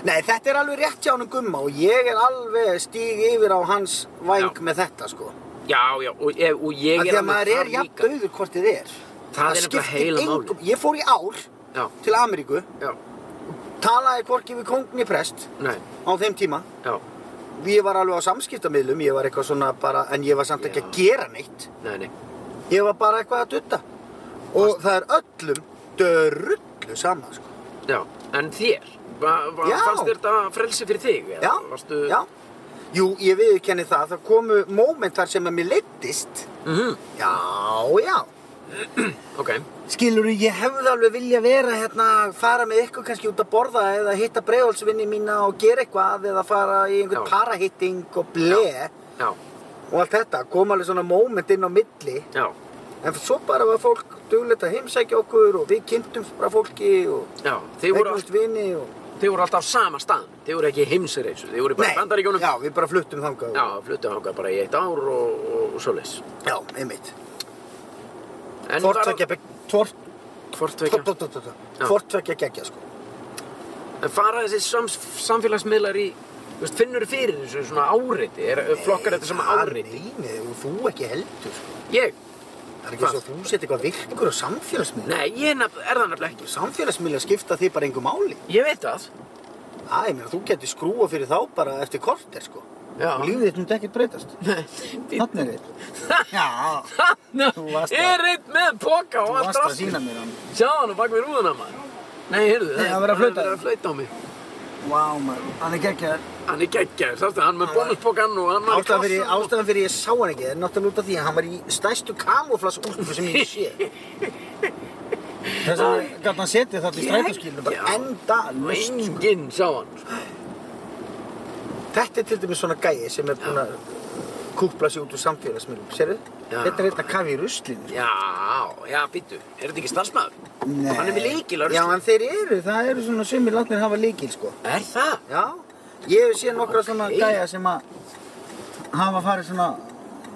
S1: Nei, þetta er alveg rétt hjá hann gumma og ég er alveg stíg yfir á hans væng
S2: Já.
S1: með þetta sko
S2: Já, já, og, ef- og ég
S1: Af
S2: er
S1: því að maður er
S2: þar
S1: jafn
S2: líka.
S1: döður hvort þið er
S2: Það er nefnilega
S1: skiptir
S2: heila
S1: engu-
S2: máli.
S1: Ég fór í ár
S2: Já,
S1: til Ameríku
S2: já,
S1: talaði hvorki við kongni prest
S2: nei,
S1: á þeim tíma
S2: já.
S1: Ég var alveg á samskiptamiðlum, ég var eitthvað svona bara en ég var samt ekki að gera neitt
S2: Nei, nei.
S1: Ég var bara eitthvað að dutta. Og það er öllum dörrullu sama, sko.
S2: Já, en þér? Va, va,
S1: Já.
S2: fannst þér þetta frelsi fyrir þig? eða
S1: Já,
S2: Varstu...
S1: já. Jú, ég viðurkenni það, það komu móment þar sem að mér leittist.
S2: Mhm,
S1: Já, já.
S2: ok.
S1: Skilur, ég hefði alveg vilja vera hérna, fara með ykkur kannski út að borða eða hitta bregðolsvinni mína og gera eitthvað eða fara í einhvern
S2: Já.
S1: parahitting og ble
S2: Já,
S1: og allt þetta. Kom alveg svona moment inn á milli.
S2: já,
S1: En svo bara var fólk duglegt að heimsækja okkur og við kynntum bara fólki og
S2: já. Þið voru,
S1: eignast vini og...
S2: all, þið voru alltaf á sama stað. Þið voru ekki í heimsreisu. Þið voru bara í bandaríkjónum.
S1: já, við bara fluttum þangað.
S2: Já, fluttu hangað bara í eitt ár og, og, og svoleiðis.
S1: já einmitt.
S2: En
S1: Hvort
S2: var-
S1: tveggja, bygg- hvort-
S2: Hvort
S1: tó-
S2: tvekja.
S1: tó- tó- tó- tó.
S2: Já.
S1: Hvort tveggja geggja, sko.
S2: En fara þessi sams, samfélagsmiðlar í... þú Veist, finnur fyrir þessu svona áreiti? Er, flokkar þetta sem
S1: Það-
S2: áreiti?
S1: Nei, nei, og þú ekki heldur, sko.
S2: Ég?
S1: Það er ekki
S2: Hvað?
S1: svo að þú sett eitthvað virkur á samfélagsmiðla.
S2: Nei, ég nefn, er það nefnilega ekki.
S1: Samfélagsmiðla skipta þig bara engu máli.
S2: Ég veit það.
S1: Æ, mér, þú getur skrúa fyrir þá bara eftir korter, sko.
S2: Já.
S1: Og lífið þitt myndi ekkert breytast. Þannig
S2: (laughs)
S1: er þitt. Já, Þú
S2: Þannig
S1: varst að-
S2: er einn með póka
S1: þú
S2: og allt
S1: varst að
S2: rastlið.
S1: sína mér hann.
S2: Sjá hann á bak við rúðuna maður. Nei, heyrðu,
S1: Nei, það var að flauta.
S2: Það er að flauta á mig.
S1: Vá, maður, hann er geggjaður.
S2: Hann er geggjaður, sástu, hann með
S1: Hann var-
S2: bónuspókan og hann var í
S1: Ástæðan fyrir,
S2: kassanum og-
S1: ástæðan fyrir ég sá hann ekki er náttúrulega út af því að hann var í stærstu kamuflas úlpu sem ég sé.
S2: (laughs)
S1: Þess að gæt hann setið þarna í strætóskilinu
S2: Já.
S1: bara enda
S2: Og
S1: laust.
S2: Enginn sá hann. sko.
S1: Þetta er til dæmis svona gæi sem er búinn að kúpla sig út úr samfélagsmiðlum, sérðu?
S2: Já.
S1: Þetta er hérna kafi í ruslinu.
S2: Já, já, býttu. Er þetta ekki starfsmæður? Hann er með líkil á
S1: Já,
S2: rusli.
S1: en þeir eru, það eru svona sumir látnir hafa líkil, sko.
S2: Er það?
S1: Já, ég hef séð nokkra svona
S2: Ok.
S1: gæja sem að hafa farið svona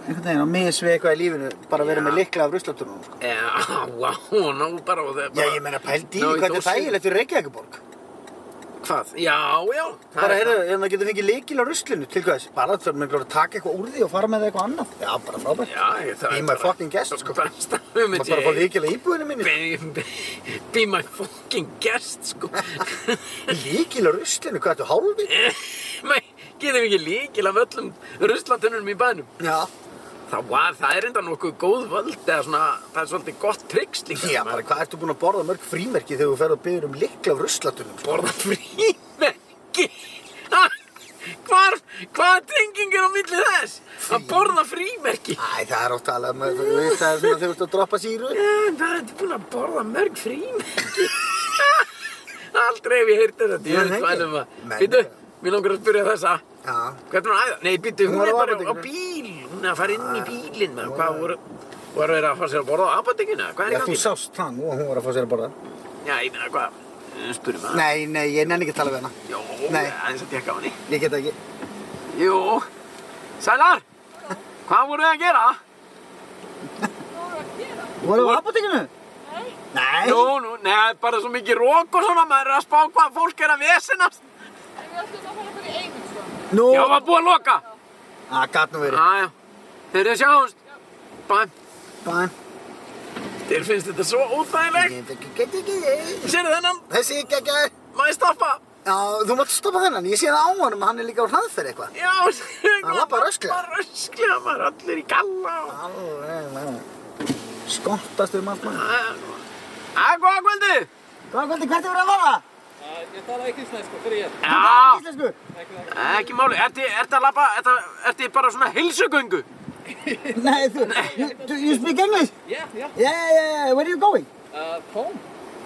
S1: einhvern veginn á misvið eitthvað í lífinu, bara verið
S2: Já.
S1: með likla af ruslatunum, sko.
S2: Já, (laughs) vá, ná bara og það
S1: Já, ég meina pældi í
S2: Ná í
S1: því hvað þetta er
S2: dósina.
S1: þægilegt fyrir Reykjavíkuborg.
S2: Hvað? Já, já. það
S1: Bara,
S2: er
S1: heyrðu, ef maður getur fengið leikil á ruslinu, til hvað þess? Bara þarf maður bara að taka eitthvað úr því og fara með það eitthvað annað. Já, bara frábært.
S2: Já, ég- það
S1: Be
S2: er
S1: my
S2: bara-
S1: fucking guest, sko.
S2: Besta hugmynd
S1: Maður bara að fá leikil á íbúðinu minni.
S2: Be- be- Be my fucking guest,
S1: (laughs)
S2: sko. (laughs)
S1: Leikil á ruslinu, hvað ertu hálfi?
S2: Nei, getum ekki líkil af öllum ruslatunum í bænum.
S1: Já.
S2: Það, var, það er enda nokkuð góð völd eða svona, það er svolítið gott tryggs líka.
S1: Já, bara hvað ertu búin að borða mörg frímerki þegar þú ferð og byrður um leikil á ruslatunum?
S2: Borða frímerki. Ha, Hvar, Hvað tenging er á milli þess? Að borða frímerki.
S1: Æ, það er oft talað með þú veist það er svona þegar þú ert að droppa síru.
S2: Já, en það er búin að borða mörg frímerki. Aldrei hef ég heyrt þetta.
S1: Nei,
S2: Ég
S1: nei,
S2: veit hvað um það.
S1: nei.
S2: Býtu, mér langar að spyrja þessa.
S1: Já,
S2: Hvað er hún að æða? Nei, býtu,
S1: Hún
S2: hún
S1: var
S2: er
S1: á
S2: bara á
S1: apótekinu. Ah.
S2: bíl. Hún er að fara inn í bílinn. maður.
S1: hún
S2: Hvað voru... Var verið að fara sér að borða á apotekinu? Hvað er í
S1: já þú
S2: gangi?
S1: sást hann og hún var að fá sér að borða.
S2: Já, ég meina, hvað? Spurum að.
S1: Nei, nei, ég nenni ekki að tala við hana.
S2: Jó,
S1: Nei.
S2: aðeins að tekka á henni.
S1: Ég get ekki.
S2: Jú. Sælar, hvað voruð þið að gera?
S1: Þú var á
S2: Þú-
S1: apotekinu? Nei.
S2: Jú, nú, neða, bara svo mikið rók og svona, maður er að spá hvað fólk er að vesenast.
S1: Nú.
S2: Já, var búið að loka.
S1: Það gat nú verið.
S2: Aðja, þeir eru sjáumst. Bæm.
S1: Bæn.
S2: Þér finnst þetta svo
S1: Ég
S2: óþægilegt.
S1: get ekki, get ekki.
S2: Sérðu þennan,
S1: Þessi ekki ekki.
S2: maður stoppa.
S1: Já, þú mátt stoppa þennan. Ég sé það á honum að hann er líka á hraðferð eitthvað.
S2: Já, (laughs) sérðu
S1: Hann labbar rösklega.
S2: Bara rösklega, maður er allir í galla. og-
S1: Alveg, alveg. Skottast um allt mann.
S2: Jæja, Að góða kvöldi.
S1: Góðan kvöldi, hvert er verið að fara?
S4: Ég tala ekki íslensku, fyrir ég.
S1: Talaðu
S2: Já,
S1: ekki íslensku?
S2: ekki máli. Ertu ertu að labba, ertu ertu bara svona heilsugöngu?
S1: Nei, þú, you, do you speak English?
S4: Yeah, yeah.
S1: Yeah, yeah, yeah, where are you going?
S4: Uh, home.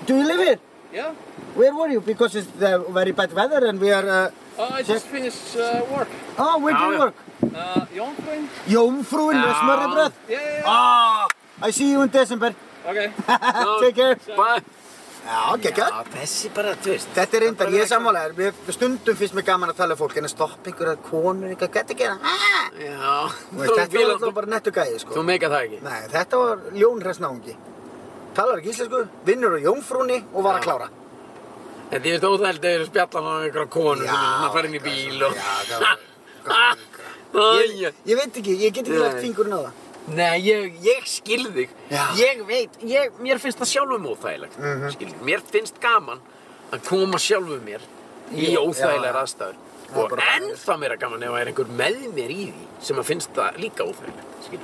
S1: Do you live here?
S4: Yeah.
S1: Where were you? Because it's the very bad weather and we are... Uh,
S4: Uh, I just finished uh, work.
S1: oh, where do
S2: Já,
S1: you
S2: já.
S1: work?
S4: Uh, Jónfrun?
S1: Jómfrúin
S2: Já.
S1: með smörrebröð.
S4: Yeah, yeah, yeah.
S1: Ah, I see you in December. (laughs)
S4: Okay.
S1: Take care.
S2: Bæm.
S1: Já, geggjað.
S2: Já, þessi bara, þú veist.
S1: Þetta er reyndar, ég er sammálaður. Við stundum finnst mér gaman að tala við fólk en að stoppa einhverja konur, eitthvað, gæti ekki það. Ah!
S2: Já,
S1: Þú veist, Þetta var
S2: þú,
S1: alltaf bara nettu gæði, sko.
S2: þú meika það ekki.
S1: Nei, þetta var ljónhressnáðungi. Talar ekki íslensku, vinnur á jómfrúni og var að
S2: Já.
S1: klára.
S2: Þetta er þetta óþægild að eru spjallan á einhverja konu sem er að fara inn í bíl og...
S1: Já, það var...
S2: (laughs) Ah,
S1: Ég,
S2: Æja.
S1: ég veit ekki, ég get ekki
S2: Nei.
S1: lagt fingurinn á það.
S2: Nei, ég, ég skil þig.
S1: Já. Mhm.
S2: Ég veit, ég, mér finnst það sjálfum óþægilegt. Mm Mér finnst gaman að koma sjálfum mér í
S1: Já,
S2: óþægilegar
S1: já.
S2: aðstæður.
S1: Það er
S2: Og
S1: bara-
S2: ennþá meira gaman ef það er einhver með mér í því sem að finnst það líka óþægilegt, skil.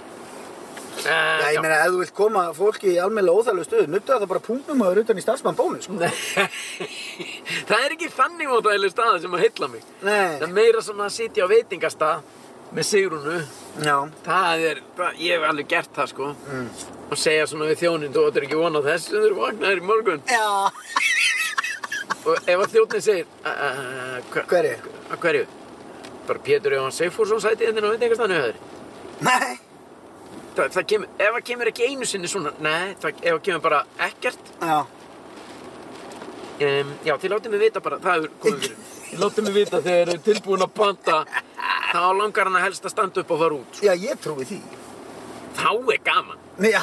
S2: Uh,
S1: Já, ég meina, ef þú vilt koma fólki í almennilega óþæglu stöðu, nuttu það bara punktum aður utan í starfsmann bónu, sko.
S2: (laughs) það er ekki þannig óþægileg staða sem að heilla mig.
S1: Nei,
S2: Það er meira svona að sitja á veitingastað með Sigrunu.
S1: já,
S2: Það er, það, ég hef alveg gert það sko. Og segja svona við þjóninn, þú áttur ekki von á þessu, þú eru vaknaðir í morgun.
S1: já,
S2: Og ef að þjóninn segir, "Uh, uh, hva-
S1: Hverju?
S2: Að hverju? Bara Pétur Jóhann Seyfúrsson sæti þinn á veitingastaðinu hjá þér.
S1: nei,
S2: Það, það kemur, ef það kemur ekki einu sinni svona, nei, það, ef það kemur bara ekkert,
S1: já,
S2: um, já, þið látið mig vita bara, það hefur komið fyrir. Þið látið mig vita þegar þið eru tilbúin að panta, þá langar hann að helst að standa upp og fara út. sko.
S1: já, ég trúi því.
S2: Þá er gaman.
S1: Nei, já,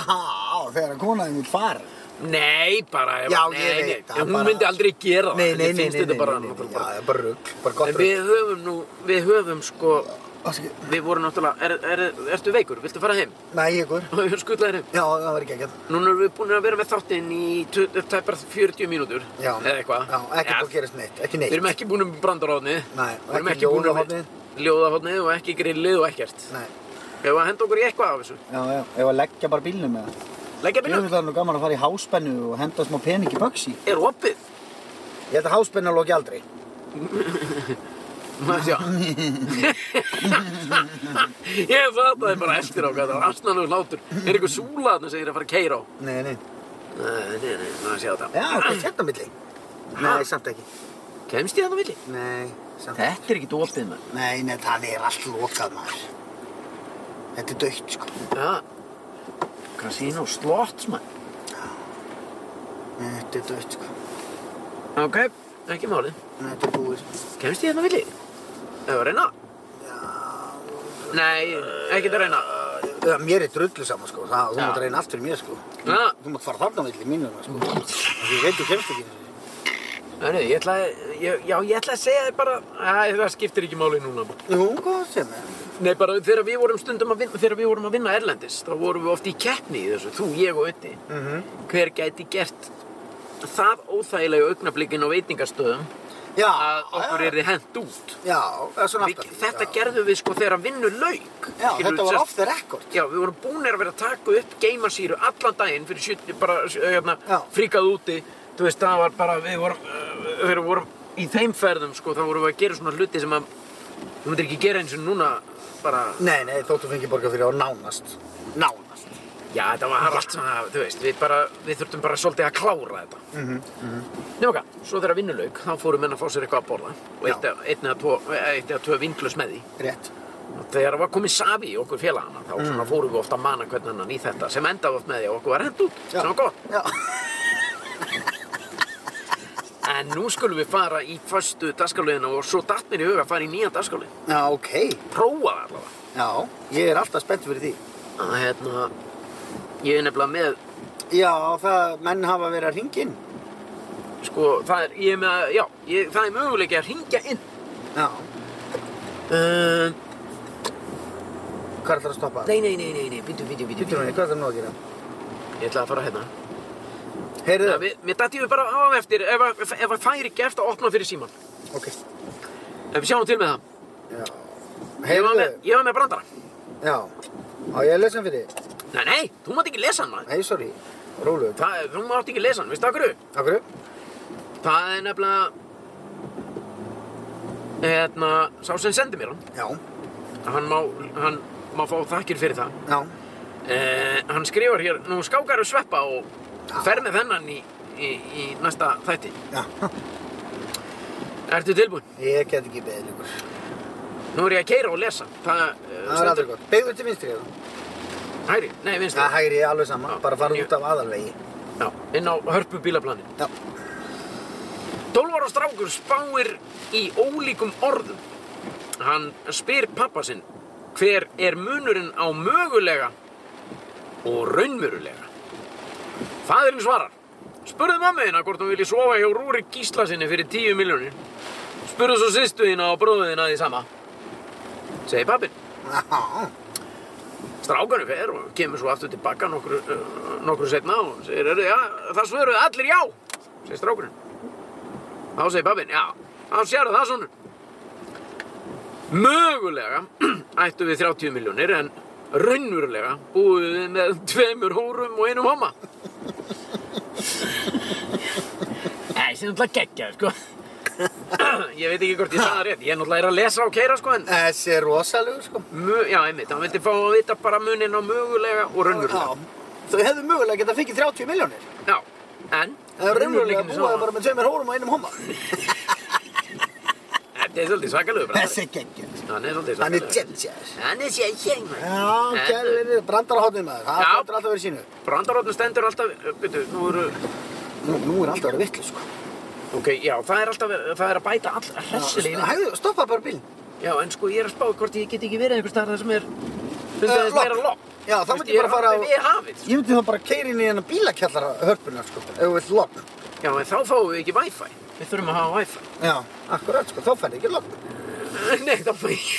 S1: þegar að konaðin vil fara.
S2: Nei, bara ef
S1: Já,
S2: nei,
S1: ég veit
S2: nei,
S1: það,
S2: Hún
S1: bara-
S2: myndi aldrei gera það
S1: Nei,
S2: henni
S1: nei, nei,
S2: finnst
S1: nei, nei,
S2: þetta bara,
S1: nei, nei, já,
S2: bara,
S1: það er bara rugg, bara
S2: En
S1: gott rugg.
S2: við höfum nú, við höfum sko
S1: Afsakið.
S2: Við vorum náttúrulega, er, er, ertu veikur, viltu fara heim? (laughs)
S1: Nei, ykkur.
S2: Og við skullaðir heim
S1: Já, það var ekki ekkert.
S2: Núna erum við búin að vera með þáttinn í tu- tæpar 40 mínútur
S1: Já,
S2: Eða eitthvað
S1: Já, ekki búið að
S2: ja,
S1: gerast neitt, ekki neitt.
S2: Við erum ekki búin um brandaróðni
S1: Nei,
S2: Við erum
S1: ekki
S2: ekki búin um
S1: ljóðahornið.
S2: ljóðahotni og ekki grillið og ekkert
S1: Nei,
S2: Við höfum að henda okkur í eitthvað af þessu
S1: já, já, ef að leggja bara bílnum með það.
S2: Leggja
S1: Ég
S2: bílum,
S1: vil það nú gaman að fara í háspennu og henda smá pening í Bugsy.
S2: er opið
S1: Ég held að háspenna loki aldrei.
S2: Má sjá. (laughs) ég fattaði bara eftir á hvað það var asnanur hlátur. Er einhver súla þarna sem ég er að fara að keyra á?
S1: Nei, nei.
S2: Nei, nei, nei, maður sjá þetta.
S1: Já, hvað er þetta á milli?
S2: Ah. Ha?
S1: Nei, samt ekki.
S2: Kemst ég þarna villi?
S1: Nei, samt ekki.
S2: Þetta er ekki dópið maður.
S1: Nei, nei, það er allt lokað maður. Þetta er dögt, sko.
S2: Já. Casino slots maður.
S1: Nei, Þetta er dögt, sko.
S2: Ok. Ekki máli.
S1: Nei, Þetta er búið.
S2: Kemst ég þarna villi? Ef að reyna? Nei, ekkert að reyna.
S1: Já, Mér er drullu saman, sko. Það, þú
S2: Já.
S1: mátt reyna allt fyrir mér, sko.
S2: Já.
S1: Þú mátt fara þarna á milli mínum, sko. Af því Ég veit, þú kemst ekki.
S2: Hörru, ég ætlaði, ég, já, ég ætlaði að segja þér bara, að, það skiptir ekki máli núna. maður.
S1: Jú, hvað sem er.
S2: Nei, bara þegar við vorum stundum að vinna, þegar við vorum að vinna Erlendis, þá vorum við oft í keppni í þessu, þú, ég og Ötti.
S1: Mhm.
S2: Hver gæti gert það óþægilega augnablikinn á veitingastöðum
S1: Já.
S2: að okkur
S1: já.
S2: er þið hent út?
S1: Já, eða svona
S2: Við,
S1: aftar.
S2: þetta
S1: já.
S2: gerðum við sko þegar vinnu lauk.
S1: Já,
S2: Skilur
S1: þetta
S2: við,
S1: var
S2: sérst-
S1: off the record.
S2: Já, við vorum búinir að vera að taka upp geimasýru allan daginn fyrir 70, bara eh, hérna,
S1: Já.
S2: fríkað úti. Þú veist, það var eh, bara, við vorum, uh, við vorum í þeim ferðum, sko, þá vorum við að gera svona hluti sem að Þú myndir ekki gera eins og núna bara,
S1: Nei, nei, þóttu fengið borga fyrir á nánast. Nánast.
S2: já þetta var allt svona, þú veist, við bara, við þurftum bara svolítið að klára þetta. Mm -hmm. Njóka, svo þegar vinnulauk, þá fórum menn að fá sér eitthvað að borða og eitt,
S1: Já.
S2: einn eða tvo, eitt eða tvo vindlus með því.
S1: Rétt.
S2: Og Þegar var komið safi í okkur félagana, þá svona fórum við ofta að mana hvern annan í þetta sem endaði oft með því að okkur var hent út,
S1: Já.
S2: sem var gott.
S1: Já.
S2: En nú skulum við fara í föstu dagskráliðina og svo datt mér í huga að fara í nýja dagskrálið.
S1: Já, ok.
S2: Prófa það allavega.
S1: Já, ég er alltaf spennt fyrir því.
S2: Að hérna, ég er nefnilega með,
S1: Já, það, menn hafa verið að hringja inn.
S2: sko, það er, ég er með, já, ég, það er möguleiki að ringja inn.
S1: Já.
S2: Uh,
S1: Hvað er það að stoppa?
S2: nei, nei, nei, nei, nei, býtu, býtu, býtu,
S1: Býttu
S2: býtu.
S1: henni, hvað er það nú að gera?
S2: Ég ætla að fara hérna.
S1: Heyrðu
S2: Ja, við, mér dætti við bara á eftir, ef, að- ef, ef að færi gert að opna fyrir síman.
S1: Ok.
S2: En við sjáum til með það.
S1: Já.
S2: Ég var
S1: Heyrðu.
S2: með, ég var með brandara.
S1: Já. Á, ég að lesa hann fyrir. þig?
S2: Nei, nei, þú mátt ekki lesa hann, maður.
S1: Nei, sorry. Róluðu.
S2: Það, þú mátt ekki lesa hann, veistu okkur?
S1: Takk fyrir.
S2: Það er nefnilega, hérna, sá sem sendi mér hann,
S1: Já.
S2: hann má, hann má fá þakkir fyrir það.
S1: Já.
S2: Eh, hann skrifar hér, nú skákar og sveppa og fer með þennan í, í, í næsta þætti.
S1: Já.
S2: Ertu tilbúinn?
S1: (laughs) Ég get ekki beðið ykkur.
S2: Nú er ég að keira og lesa. Það, eh,
S1: Það er aldrei gott. Beigður til vinstri eða?
S2: Hæri, nei, vinstri.
S1: Það hægri alveg sama.
S2: Já.
S1: Bara farað
S2: Ég-
S1: út af aðalvegi.
S2: Já, inn á hörpu bílaplanin.
S1: Já.
S2: 12 ára strákur spáir í ólíkum orðum. Hann spyr pappa sinn hver er munurinn á mögulega og raunmörulega. Fadurinn svarar. Spurðu mammu þína hvort hún vilji sofa hjá Rúri Gísla sinni fyrir 10 miljónir. Spurðu svo sýstu þína og bróðu þína því sama. Segir pappin.
S1: Já.
S2: Strákunni fer og kemur svo aftur tilbaka nokkru, uh, nokkru setna og segir, "Heyrðu, já, það svöruðu allir já, segir strákurinn. Þá segir pappinn, já, þá sérðu það svona. Mögulega (clears throat) ættu við 30 miljónir en raunverulega búum við með tveimur hórum og einum homma. Nei, sem náttúrulega geggja, sko. (clears throat) ég veit ekki hvort ég sagði það rétt, ég er náttúrulega er að lesa og keira, sko, en
S1: Þessi er rosalegur sko.
S2: Mö, já, einmitt, hann vildi fá að vita bara munin á mögulega og raunverulega.
S1: Þau hefðu mögulega getað fengið 30 miljónir.
S2: Já, en...
S1: Það er raunverulega
S2: raunveruleikinn
S1: að
S2: er
S1: búa
S2: svona-
S1: bara með tveimur hórum og einum homma.
S2: Þetta er svolítið svakalögur,
S1: Þessi er geggjur.
S2: Hann er svolítið
S1: Hann er
S2: svakalegur.
S1: jetsjæður.
S2: Hann er sjækjeng.
S1: Já,
S2: eh,
S1: kæri verið, brandarahotnið maður. Það
S2: Já.
S1: stendur alltaf verið sínu.
S2: Brandaróttin stendur alltaf... Býtu, nú eru...
S1: Nú, nú er alltaf verið vitlu sko.
S2: Ok, já, það er alltaf... Það er að bæta all hressilínu.
S1: Hægðu, stoppa bara bílinn.
S2: Já, en sko, ég er að spá hvort ég get ekki verið einhvers staðar þar sem er...
S1: Eh,
S2: Fundið þess
S1: logn.
S2: meira logn.
S1: Já, þá
S2: Þú veist,
S1: myndi ég bara fara á...
S2: Ég er hafið, sko.
S1: Ég myndi þá bara keira inn í hennar bílakjallara hörpuna sko, ef þú vilt logn.
S2: Já, en þá fáum við ekki Wi-Fi. Við þurfum að hafa Wi-Fi.
S1: Já, akkurat sko, þá færði ekki logn.
S2: Nei, það fæ (laughs) ég.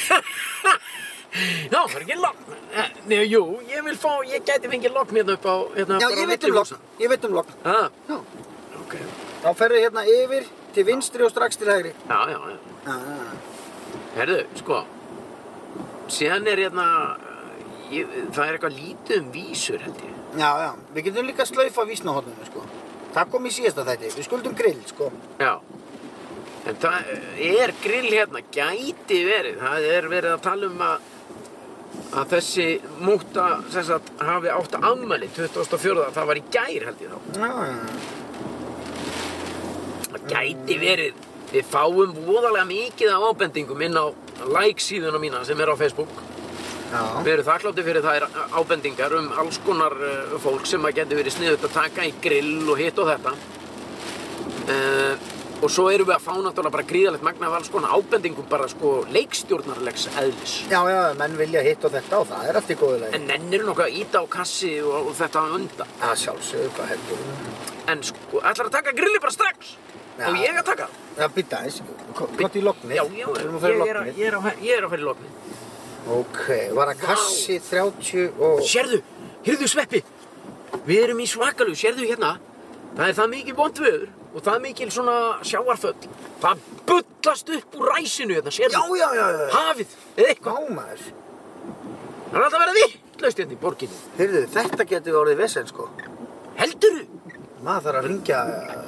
S2: Já, það er ekki logn. Eh, Nei, jú, ég vil fá, ég gæti fengið logn hérna upp á, hérna,
S1: Já, ég veit um logn, ég veit um logn.
S2: Já,
S1: Já,
S2: ok.
S1: þá færði hérna yfir, til vinstri og strax til hægri.
S2: Já, já, já.
S1: Já, já, já.
S2: Herðu, sko, síðan er hérna, eh, ég, það er eitthvað lítið um vísur, held ég.
S1: Já, já, við getum líka slaufa vísnahotninu, sko. Það kom í síðasta þætti, við skuldum grill, sko.
S2: Já. En það er grill hérna, gæti verið. Það er verið að tala um að, að þessi múta, sem sagt, hafi átt afmæli 2004. Það var í gær, held ég þá.
S1: Já, já, já.
S2: Það gæti verið. Við fáum voðalega mikið af ábendingum inn á like síðuna mína sem er á Facebook.
S1: Já,
S2: Við erum þakklátti fyrir þær ábendingar um alls konar eh, fólk sem að geti verið sniðut að taka í grill og hitt og þetta. Uh, og svo erum við að fá náttúrulega bara gríðalegt magna af alls konar ábendingum bara sko leikstjórnarlegs eðlis.
S1: já, já, menn vilja hitt og þetta og það er allt í góðu lagi.
S2: En nennir nokkuð að íta á kassi og, og þetta á undan.
S1: Það sjálfsögur, hvað heldur þú?
S2: En sko, ætlar að taka grilli bara strax?
S1: Já.
S2: Og ég að taka? það?
S1: Já, býta eins, gott í lognið.
S2: Já, já,
S1: Við erum að fara í
S2: ég er að,
S1: lognið.
S2: ég er að, fer- ég er að fara í loknið.
S1: Ok, var að kassi 30 og...
S2: Sérðu, heyrðu sveppi Við erum í svakalug, sérðu hérna Það er það mikið vond viður Og það mikil svona sjáarföll Það bullast upp úr ræsinu hérna,
S1: Já,
S2: sérðu
S1: já, já, já.
S2: Hafið, eða eitthvað
S1: Hvað maður?
S2: Það er alltaf að vera vittlaust hérna í borginni
S1: Heyrðu, þetta getur orðið vesen, sko.
S2: Heldurðu?
S1: Maður þarf að ringja...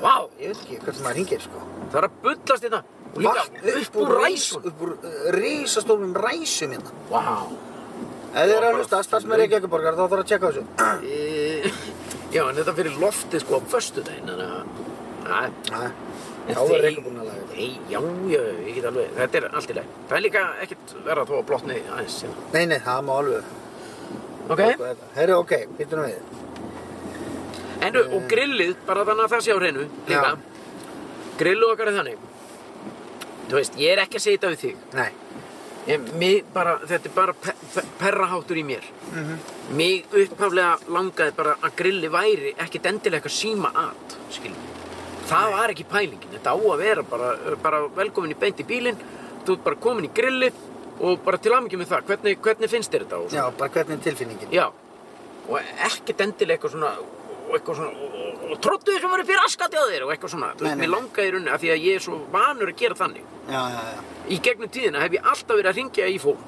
S2: Vá,
S1: Ég veit ekki hvernig maður ringir, sko.
S2: það er að bullast hérna Og líka
S1: Vart
S2: upp úr ræsun.
S1: Upp úr uh, risastólum ræsum hérna.
S2: Vá.
S1: Ef þið eru að hlusta, starfsmenn Reykjavíkuborgar, þá þarf að tjekka á þessu.
S2: (clears throat) E, (laughs) já, en þetta fyrir loftið sko á föstudaginn, þannig að... að-
S1: Nei,
S2: en
S1: þá er
S2: þeir-
S1: Reykjavík búin að laga þetta.
S2: Nei, já, já, ég get alveg, þetta er allt í lagi. Það er líka ekkert verra þó að blotni aðeins hérna.
S1: Nei, nei, það má alveg.
S2: Ok?
S1: Herru, ok, býtum við.
S2: En, og grillið, bara þannig að það sé á hreinu, líka.
S1: Já.
S2: Grillið okkar er þannig. Þú veist, ég er ekki að segja þetta við þig.
S1: Nei.
S2: Ég, mig bara, þetta er bara pe pe perraháttur í mér. Mm -hmm. Mig upphaflega langaði bara að grilli væri ekkert endilega eitthvað síma at, skiljum. Það var ekki pælingin, þetta á að vera bara, bara velkomin í beint í bílinn, þú ert bara komin í grilli og bara til aðmyggjum með það, hvernig, hvernig finnst þér þetta? Og,
S1: Já, bara hvernig er tilfinningin?
S2: Já, og ekkert endilega eitthvað svona og eitthvað svona, og, og, og tróttu þér sem verið fyrir askati á þér og eitthvað svona, þú
S1: Nei,
S2: veist,
S1: nei,
S2: mér
S1: nei.
S2: langaði í rauninni af því að ég er svo vanur að gera þannig
S1: Já, já, já.
S2: í gegnum tíðina hef ég alltaf verið að ringja í fólk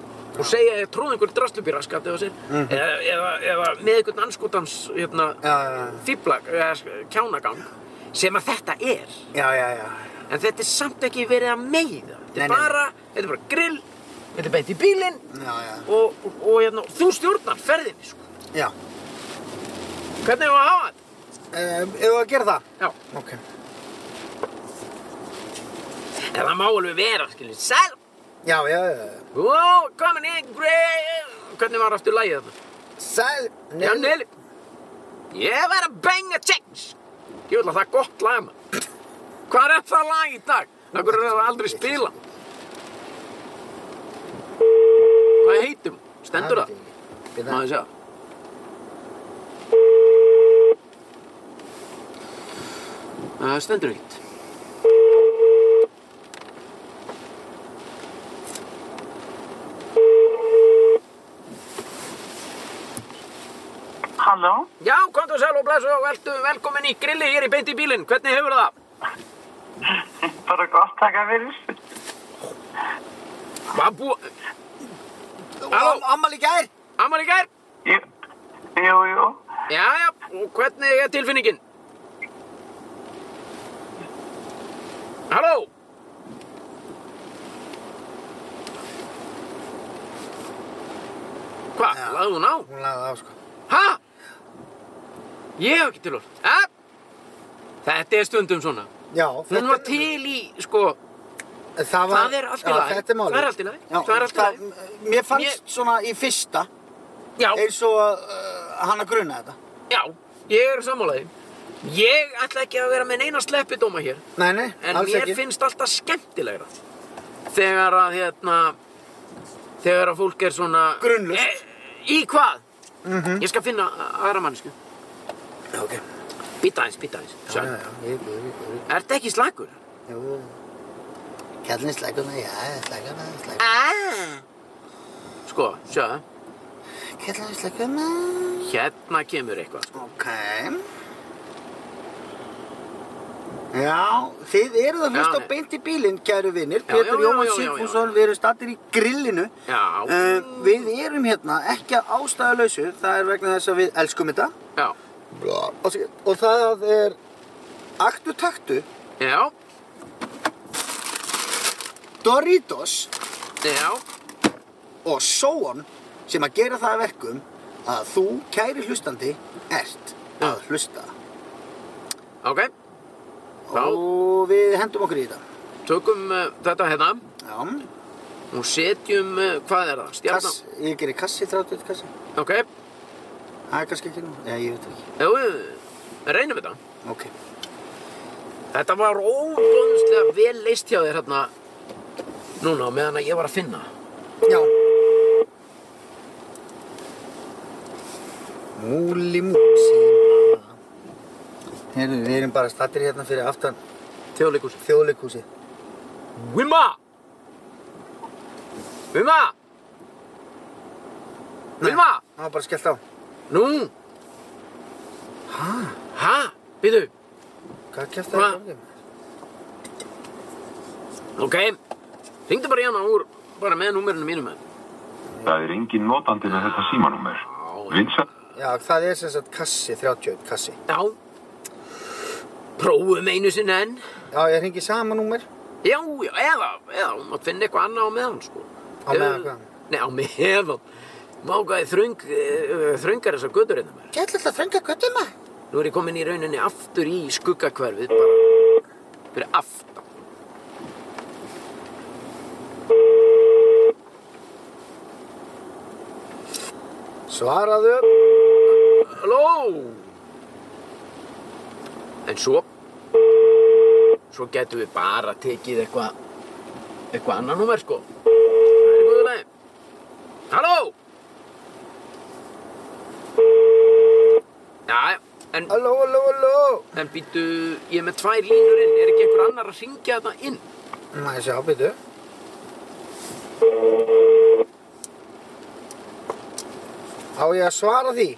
S2: og segja að ég tróði einhver drastlubir að skapta á sér eða, eða, eða með einhvern anskotans hérna,
S1: Mhm. Já, já, já.
S2: fíblag eða sk- kjánagang sem að þetta er
S1: Já, já, já.
S2: en þetta er samt ekki verið að meiða
S1: Nei,
S2: þetta
S1: nei,
S2: er
S1: nei.
S2: bara, þetta er bara grill þetta er beint í bílinn
S1: Já, já.
S2: og, og, og hérna, þú stjórnar ferðinni sko.
S1: Já.
S2: hvernig er að hafa þetta?
S1: Um, Ef að gera það?
S2: Já.
S1: Ok.
S2: en það má alveg vera, skiljið, sæl
S1: Já, já, já. já.
S2: ó, komin inn, grill hvernig var aftur lægið þarna?
S1: Sæl.
S2: Já, Nelly Ég verð að benga change Ég vil að það er gott lag maður Hvað er það lag í dag? Akkur er það aldrei spila Hvað heitum? Stendur það? Má
S1: Býtum
S2: ég
S1: við.
S2: sjá Það stendur ekkert
S5: Halló?
S2: Já, komdu sæl og blessu og veltu velkomin í grilli hér í beint í bílinn Hvernig hefur það?
S5: Bara gott taka fyrir.
S2: Hvað bú... Halló?
S1: Am- Ammali gær?
S2: Amal í gær?
S5: Jú, jú, jú.
S2: Já, já, og hvernig er tilfinningin? Halló? Hva?
S1: Já.
S2: Laðu hún á?
S1: Hún lagði það á sko.
S2: Ha? Ég hef ekki til orð. Ha? Þetta er stundum svona.
S1: Já. þetta-
S2: Hún var til í, sko,
S1: Það, var,
S2: það er allt í
S1: Já,
S2: lagi.
S1: Þetta er málið.
S2: Það er allt í lagi.
S1: Já,
S2: Það er allt í lagi.
S1: Mér fannst
S2: Mér-
S1: svona í fyrsta
S2: já,
S1: eins og uh, hann að gruna þetta.
S2: já, ég er sammálaði. Ég ætla ekki að vera með neina sleppidóma hér.
S1: Nei, nei,
S2: En
S1: alls
S2: mér
S1: ekki.
S2: finnst alltaf skemmtilegra þegar að hérna þegar að fólk er svona
S1: Grunlaust.
S2: e, Í hvað?
S1: Mhm.
S2: Ég skal finna a- aðra mannsku
S1: Já, ok.
S2: Býta aðeins, býta aðeins
S1: Já,
S2: Sjá.
S1: já, já, ég, ég, ég, ég,
S2: Ertu ekki slagur?
S1: jú. Kjallin slækuna, já, slækuna, slækuna.
S2: Ah. Sko, sjá
S1: Kjallin slækuna.
S2: Hérna kemur eitthvað sko.
S1: Ok. Já, þið eruð að hlusta
S2: Já,
S1: á beint í bílinn, kæru vinnir.
S2: Já, já,
S1: Pétur
S2: já,
S1: Jóhann
S2: já, já, já.
S1: Sigfússon, við erum stattir í grillinu.
S2: Já,
S1: Uh, við erum hérna ekki að ástæðalausu, það er vegna þess að við elskum þetta.
S2: já,
S1: Og, og það er aktu taktu,
S2: já,
S1: Doritos
S2: já
S1: og Sóon sem að gera það að verkum að þú, kæri hlustandi, ert að hlusta.
S2: Ok, Já.
S1: Og við hendum okkur í þetta.
S2: tökum uh, þetta hérna
S1: Já,
S2: og setjum, uh, hvað er það? Stjarnan?
S1: kass, ég gerir kassi, 31 kassi.
S2: Ok,
S1: Það er kannski ekki nú, já, ég veit ekki.
S2: jú, jú, reynum þetta
S1: Ok.
S2: Þetta var óbóðslega vel leist hjá þér hérna núna á meðan að ég var að finna.
S1: Já. Múli músi. Heyrðu, við erum bara stattir hérna fyrir aftan
S2: Þjóðleikus.
S1: þjóðleikhúsið.
S2: Vimma! Vimma! Vimma!
S1: Það var bara skellt á.
S2: Nú!
S1: Hæ?
S2: Ha? Býtu.
S1: Hvað kæft það í
S2: Hva?
S1: gangi?
S2: Ok. Ringdu bara í hana úr, bara með númerinu mínum. maður.
S6: Það er engin notandi með þetta símanúmer. Vinsæl
S1: Já, það er sem sagt kassi, 31 kassi.
S2: Já. Prófum einu sinni enn.
S1: Já, ég hringi sama númer.
S2: Já, já, eða, eða, hún mátt finna eitthvað annað á meðan, sko.
S1: Á meðan hvað?
S2: Nei, á meðan. Má hvað er þröng, eh, þröngar þessar götur hérna maður.
S1: Ég ætla alltaf að þrönga göttuna.
S2: Nú er ég komin í rauninni aftur í skuggakverfið, bara. Fyrir aftan.
S1: Svaraðu.
S2: Halló! En svo Svo getum við bara tekið eitthvað eitthvað annan númer sko Það er í góðu lagi Halló! Jæja, en,
S1: Halló, halló, halló.
S2: en býttu ég er með tvær línur inn, er ekki einhver annar að hringja þarna inn?
S1: Má ég sjá, byrju. Á ég að svara því?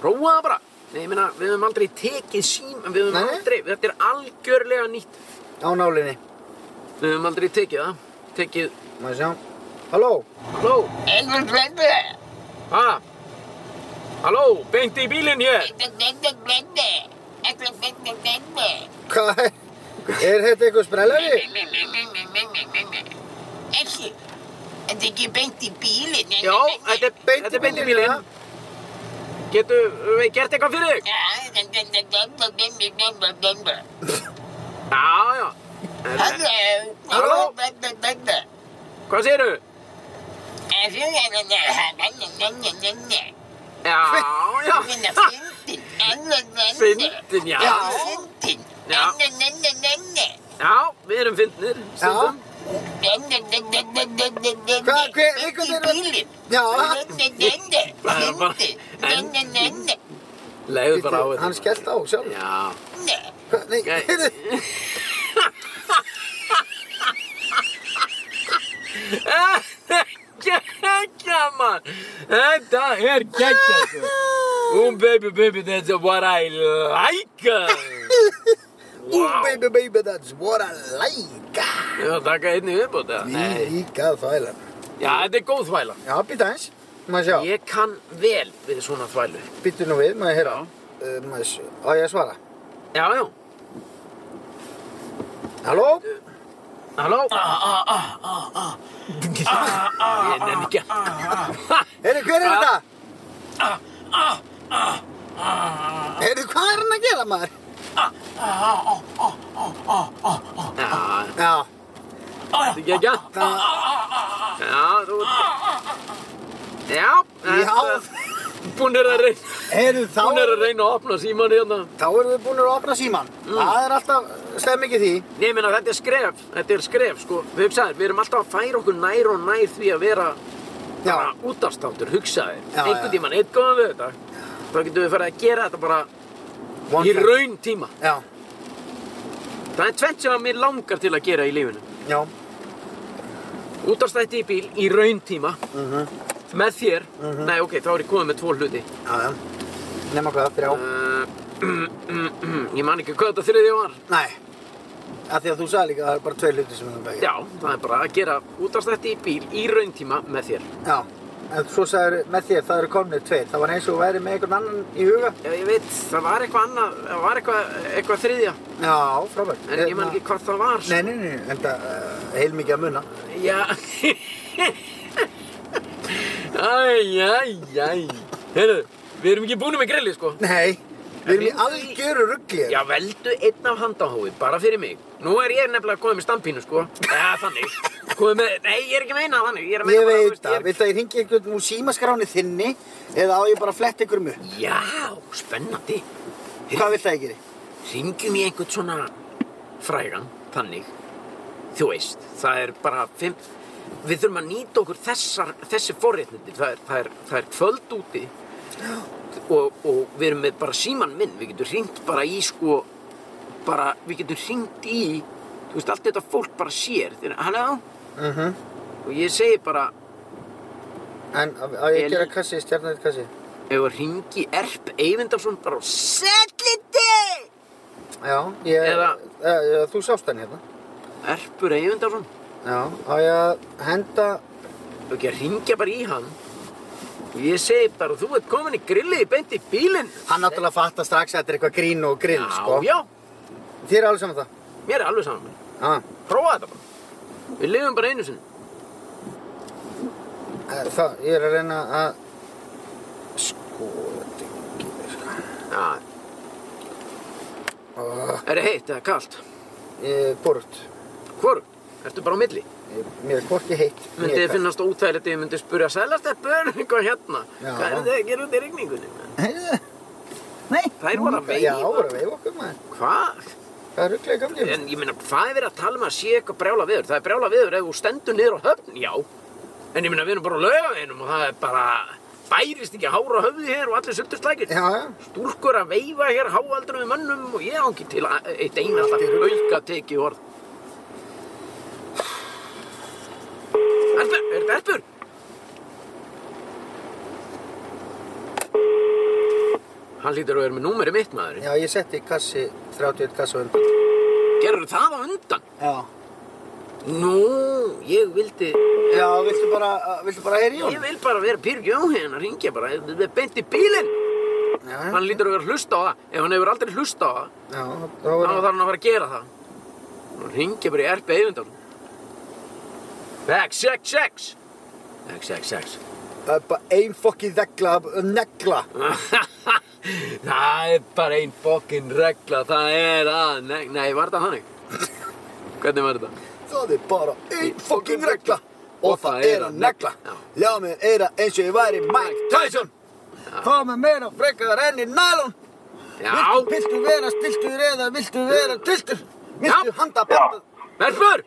S2: Prófa það bara Nei, ég meina, við höfum aldrei tekið sím en við höfum
S1: Nei, nei.
S2: aldrei, þetta er algjörlega nýtt
S1: Á nálinni.
S2: Við höfum aldrei tekið það Tekið,
S1: Má ég sjá. Halló.
S2: halló
S7: Einhvern blöndu,
S2: Ha? Halló, beint í bílinn hér.
S7: einhvern einhvern blöndu, einhvern einhvern blöndu.
S1: Hvað er? Er þetta eitthvað sprellari?
S7: Ekki, þetta er ekki beint í bílinn.
S2: Já, þetta er
S1: Beint í
S2: þetta er beint í
S1: bílinn,
S2: bílinn. Getur við gert eitthvað fyrir þig?
S7: Dạ,
S2: Já, já. En,
S7: Halló?
S2: Hvað segirðu?
S7: À,
S2: Já, já. Fyndin, já. Já, við erum fyndnir. stundum.
S7: Hvað,
S1: hver- einhvern
S7: er
S1: þeirra-
S7: bílinn?
S1: Já.
S2: Það er bara- en-
S7: Fyndi
S2: Legðu bara á þetta.
S1: Hann skellt á sjálf.
S2: Já.
S1: Hvað- Nei,
S2: Nei.
S1: heyrðu.
S2: Gekkja, mann. Þetta er gekkja, sko. Um, baby, baby, that's what I like.
S1: Ooh, baby, baby, that's what I like.
S2: Ég var að taka einni viðbót, eða?
S1: Því líka þvælan.
S2: Já, þetta er góð þvæla.
S1: Já, býta eins. Má ég sjá.
S2: Ég kann vel við svona þvælu.
S1: Býttu nú við, má ég heyra. Uh, má ég sjá. Á ég að svara?
S2: Já, já.
S1: Halló?
S2: Halló? Ah, Ég nenni ekki að...
S1: Heyrðu, hver er þetta? Heyrðu, hvað er hann að gera, maður?
S2: Já,
S1: Já,
S2: þetta er gekkja.
S1: það,
S2: Já, þú... Já,
S1: Já.
S2: Búin er að reyna...
S1: heyrðu, þá,
S2: Búin er að Mm. reyna að opna síman hérna.
S1: þá erum við búin að opna síman. Það er alltaf stemming í því.
S2: Nei, ég meina, þetta er skref. Þetta er skref, sko. Við hugsaðum, við erum alltaf að færa okkur nær og nær því að vera
S1: Já,
S2: bara útastáttur, hugsaði.
S1: Já, já.
S2: Einhvern tímann, einn góðan við þetta. Þá getum við farið að gera þetta bara
S1: one
S2: í
S1: time.
S2: raun tíma.
S1: Já,
S2: Það er tvennt sem að mér langar til að gera í lífinu.
S1: já,
S2: Útastætti í bíl í raun tíma með þér. Nei, ok, þá er ég komið með tvo hluti.
S1: já, já. Nefna hvað, þrjá.
S2: Uh, (clears throat) ég man ekki hvað þetta þriðja var.
S1: Nei, af því að þú sagði líka að það er bara tvei hluti sem við erum
S2: Já, það er bara að gera útastætti í bíl í raun tíma með þér.
S1: Já. Já, en svo sagði með þér, það eru komnir tveir. Það var eins og þú væri með einhvern annan í huga.
S2: Já, ég veit, það var eitthvað annað, það var eitthvað, eitthvað þriðja,
S1: Já, frábært. Hérna-
S2: en ég man ekki hvað það var.
S1: Nei, nei, nei, en það uh, heilmikið að munna.
S2: Já. Æj, æj, æj. Heyrðu, við erum ekki búin með grillið, sko.
S1: Nei, við erum í
S2: En-
S1: algjöru hérna. ruggli.
S2: Já, veldu einn af handahói, bara fyrir mig. Nú er ég nefnilega komið með stampínu, sko. Eða þannig. Komið með, nei, ég er ekki að meina þannig. Ég er að meina
S1: Ég
S2: bara, þú
S1: veit
S2: veist,
S1: það,
S2: ég
S1: vilt að ég ringi einhvern úr símaskráni þinni eða á ég bara að fletta ykkur mjög?
S2: er... Já, spennandi.
S1: Hvað vilt að ég geri?
S2: Ringjum í einhvern svona frægan, þannig. Þú veist, það er bara fimm... Við þurfum að nýta okkur þessar, þessi forréttindi. Það er, það er, það er kvöld úti og, og við erum með bara síman minn. Við getum hringt bara í, sko, bara, við getum hringt í, þú veist, allt þetta fólk bara sér. Þeir, halló?
S1: Uh -huh.
S2: Og ég segi bara,
S1: En á á ég
S2: Ég
S1: að gera
S2: lí-
S1: kassi, stjarnæðið kassi?
S2: ef að ringi Erp Eyvindarsson bara á SELLITI!
S1: Já, ég,
S2: Eða-
S1: eða, eða þú sást hann hérna.
S2: Erpur Eyvindarsson,
S1: Já, á ég að henda,
S2: og ekki að ringja bara í hann. Og ég segi bara, þú ert komin í grillið, beint í bílinn.
S1: hann náttúrulega fattar strax að þetta er eitthvað grín og grill, sko.
S2: Já, já,
S1: Þér er alveg saman það?
S2: mér er alveg saman.
S1: Já, Ha.
S2: Prófa þetta bara. Við lifum bara einu sinni.
S1: Eh, Það, ég er að reyna að skoða þetta ekki virka.
S2: Já.
S1: Ah,
S2: Er það heitt eða kalt?
S1: Ég er bort.
S2: Hvorugt? Ertu bara á milli?
S1: Ég- Mér er hvorki heitt. né
S2: Myndi þið
S1: (laughs) kalt.
S2: finnast óþægilegt ef ég myndi spurja sælastelpur eitthvað hérna?
S1: Já.
S2: Hvað er þið að gera út í rigningunni? menn?
S1: Heyrðu, Nei.
S2: Þær voru að
S1: Já,
S2: veifa.
S1: voru að veifa okkur maður.
S2: Hvað?
S1: Það er rugglega gamlega.
S2: En ég meina, hvað er verið að tala um að sé eitthvað brjála viður? Það er brjála viður ef þú stendur niður á höfn, já. En ég meina, við erum bara á laugaveginum og það er bara bærist ekki hár á höfði hér og allir sultuslækir.
S1: Já, já.
S2: Stúrkur að veifa hér háaldur við mönnum og ég ángi til að- eitt einasta auka teki orð. Erpur, er þetta Erpur? Hann lítur að vera með númerið mitt maðurinn.
S1: Já, ég setti kassi, 31 kassa á undan.
S2: Gerur það á undan?
S1: Já.
S2: Nú, ég vildi,
S1: Já, viltu bara, uh, viltu bara heyri í
S2: ég
S1: honum?
S2: vil bara vera Pyrr Jóhann að ringja bara, þetta er beint í bílinn.
S1: Já,
S2: Hann lítur að vera að hlusta á það, ef hann hefur aldrei hlusta á það,
S1: já, þá er
S2: þá þarf
S1: það.
S2: hann að fara að gera það. Hann ringja bara í erfi eifindal. Vex, sex, sex. Vex, sex, sex. (laughs)
S1: Það er bara ein fokkin negla, negla.
S2: það er bara ein fokkin regla, það er að, nei, nei, var þetta þannig? (laughs) Hvernig var þetta?
S1: Það er bara ein fokkin negla. Og það er að negla.
S2: Já.
S1: Já, mér er að eins og ég væri Mike Tyson. Fá með meira frekar enn í nælon. Viltu,
S2: Já,
S1: viltu vera stiltur eða viltu vera tiltur? Viltu
S2: Já.
S1: handa banda?
S2: verður!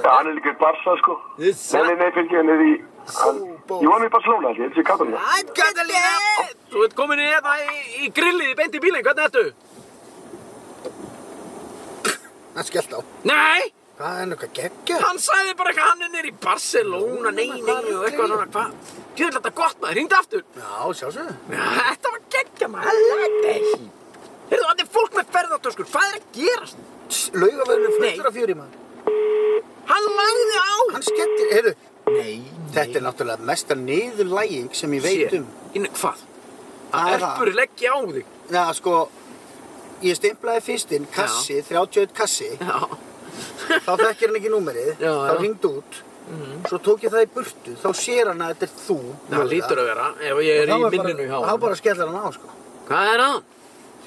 S6: Já, hann er líka í Barca, sko. Nei, nei, nei, fylgji, hann er í... Hann,
S1: Súbó.
S6: jú, hann er í Barcelona, held ég, þetta er Katalina.
S2: Æ, Katalína! Þú ert komin í þetta í, í grillið, beint í bílinn, hvernig ertu?
S1: Hann skellt á.
S2: Nei,
S1: Hvað er nokkuð geggja?
S2: hann sagði bara eitthvað, hann er nýr í Barcelona, nei, nei, og eitthvað svona, hvað? Gjöðlega þetta gott maður, hringdu aftur.
S1: Já, sjálfsögðu.
S2: Þetta var geggja maður, I like that shit. Heyrðu, þetta er fólk með ferðartöskur, hvað er að gerast?
S1: Laugavörður
S2: Nei.
S1: fluttur af fjöri maður.
S2: Hann lagði á.
S1: Hann skellir, heyrðu. Nei, Þetta er náttúrulega mesta niðurlæging sem ég veit um.
S2: Inn, hvað?
S1: Það er það.
S2: Erfur leggja á þig.
S1: Já, sko, ég stimplaði fyrst inn kassi, 31 kassi,
S2: Já.
S1: þá þekkir hann ekki númerið,
S2: Já, já. Mhm.
S1: þá hringd út, svo tók ég það í burtu, þá sér hann að þetta er þú.
S2: Það lítur að vera, ef ég er í minninu hjá
S1: Há
S2: hann.
S1: bara skellir hann á, sko.
S2: Hvað er hann?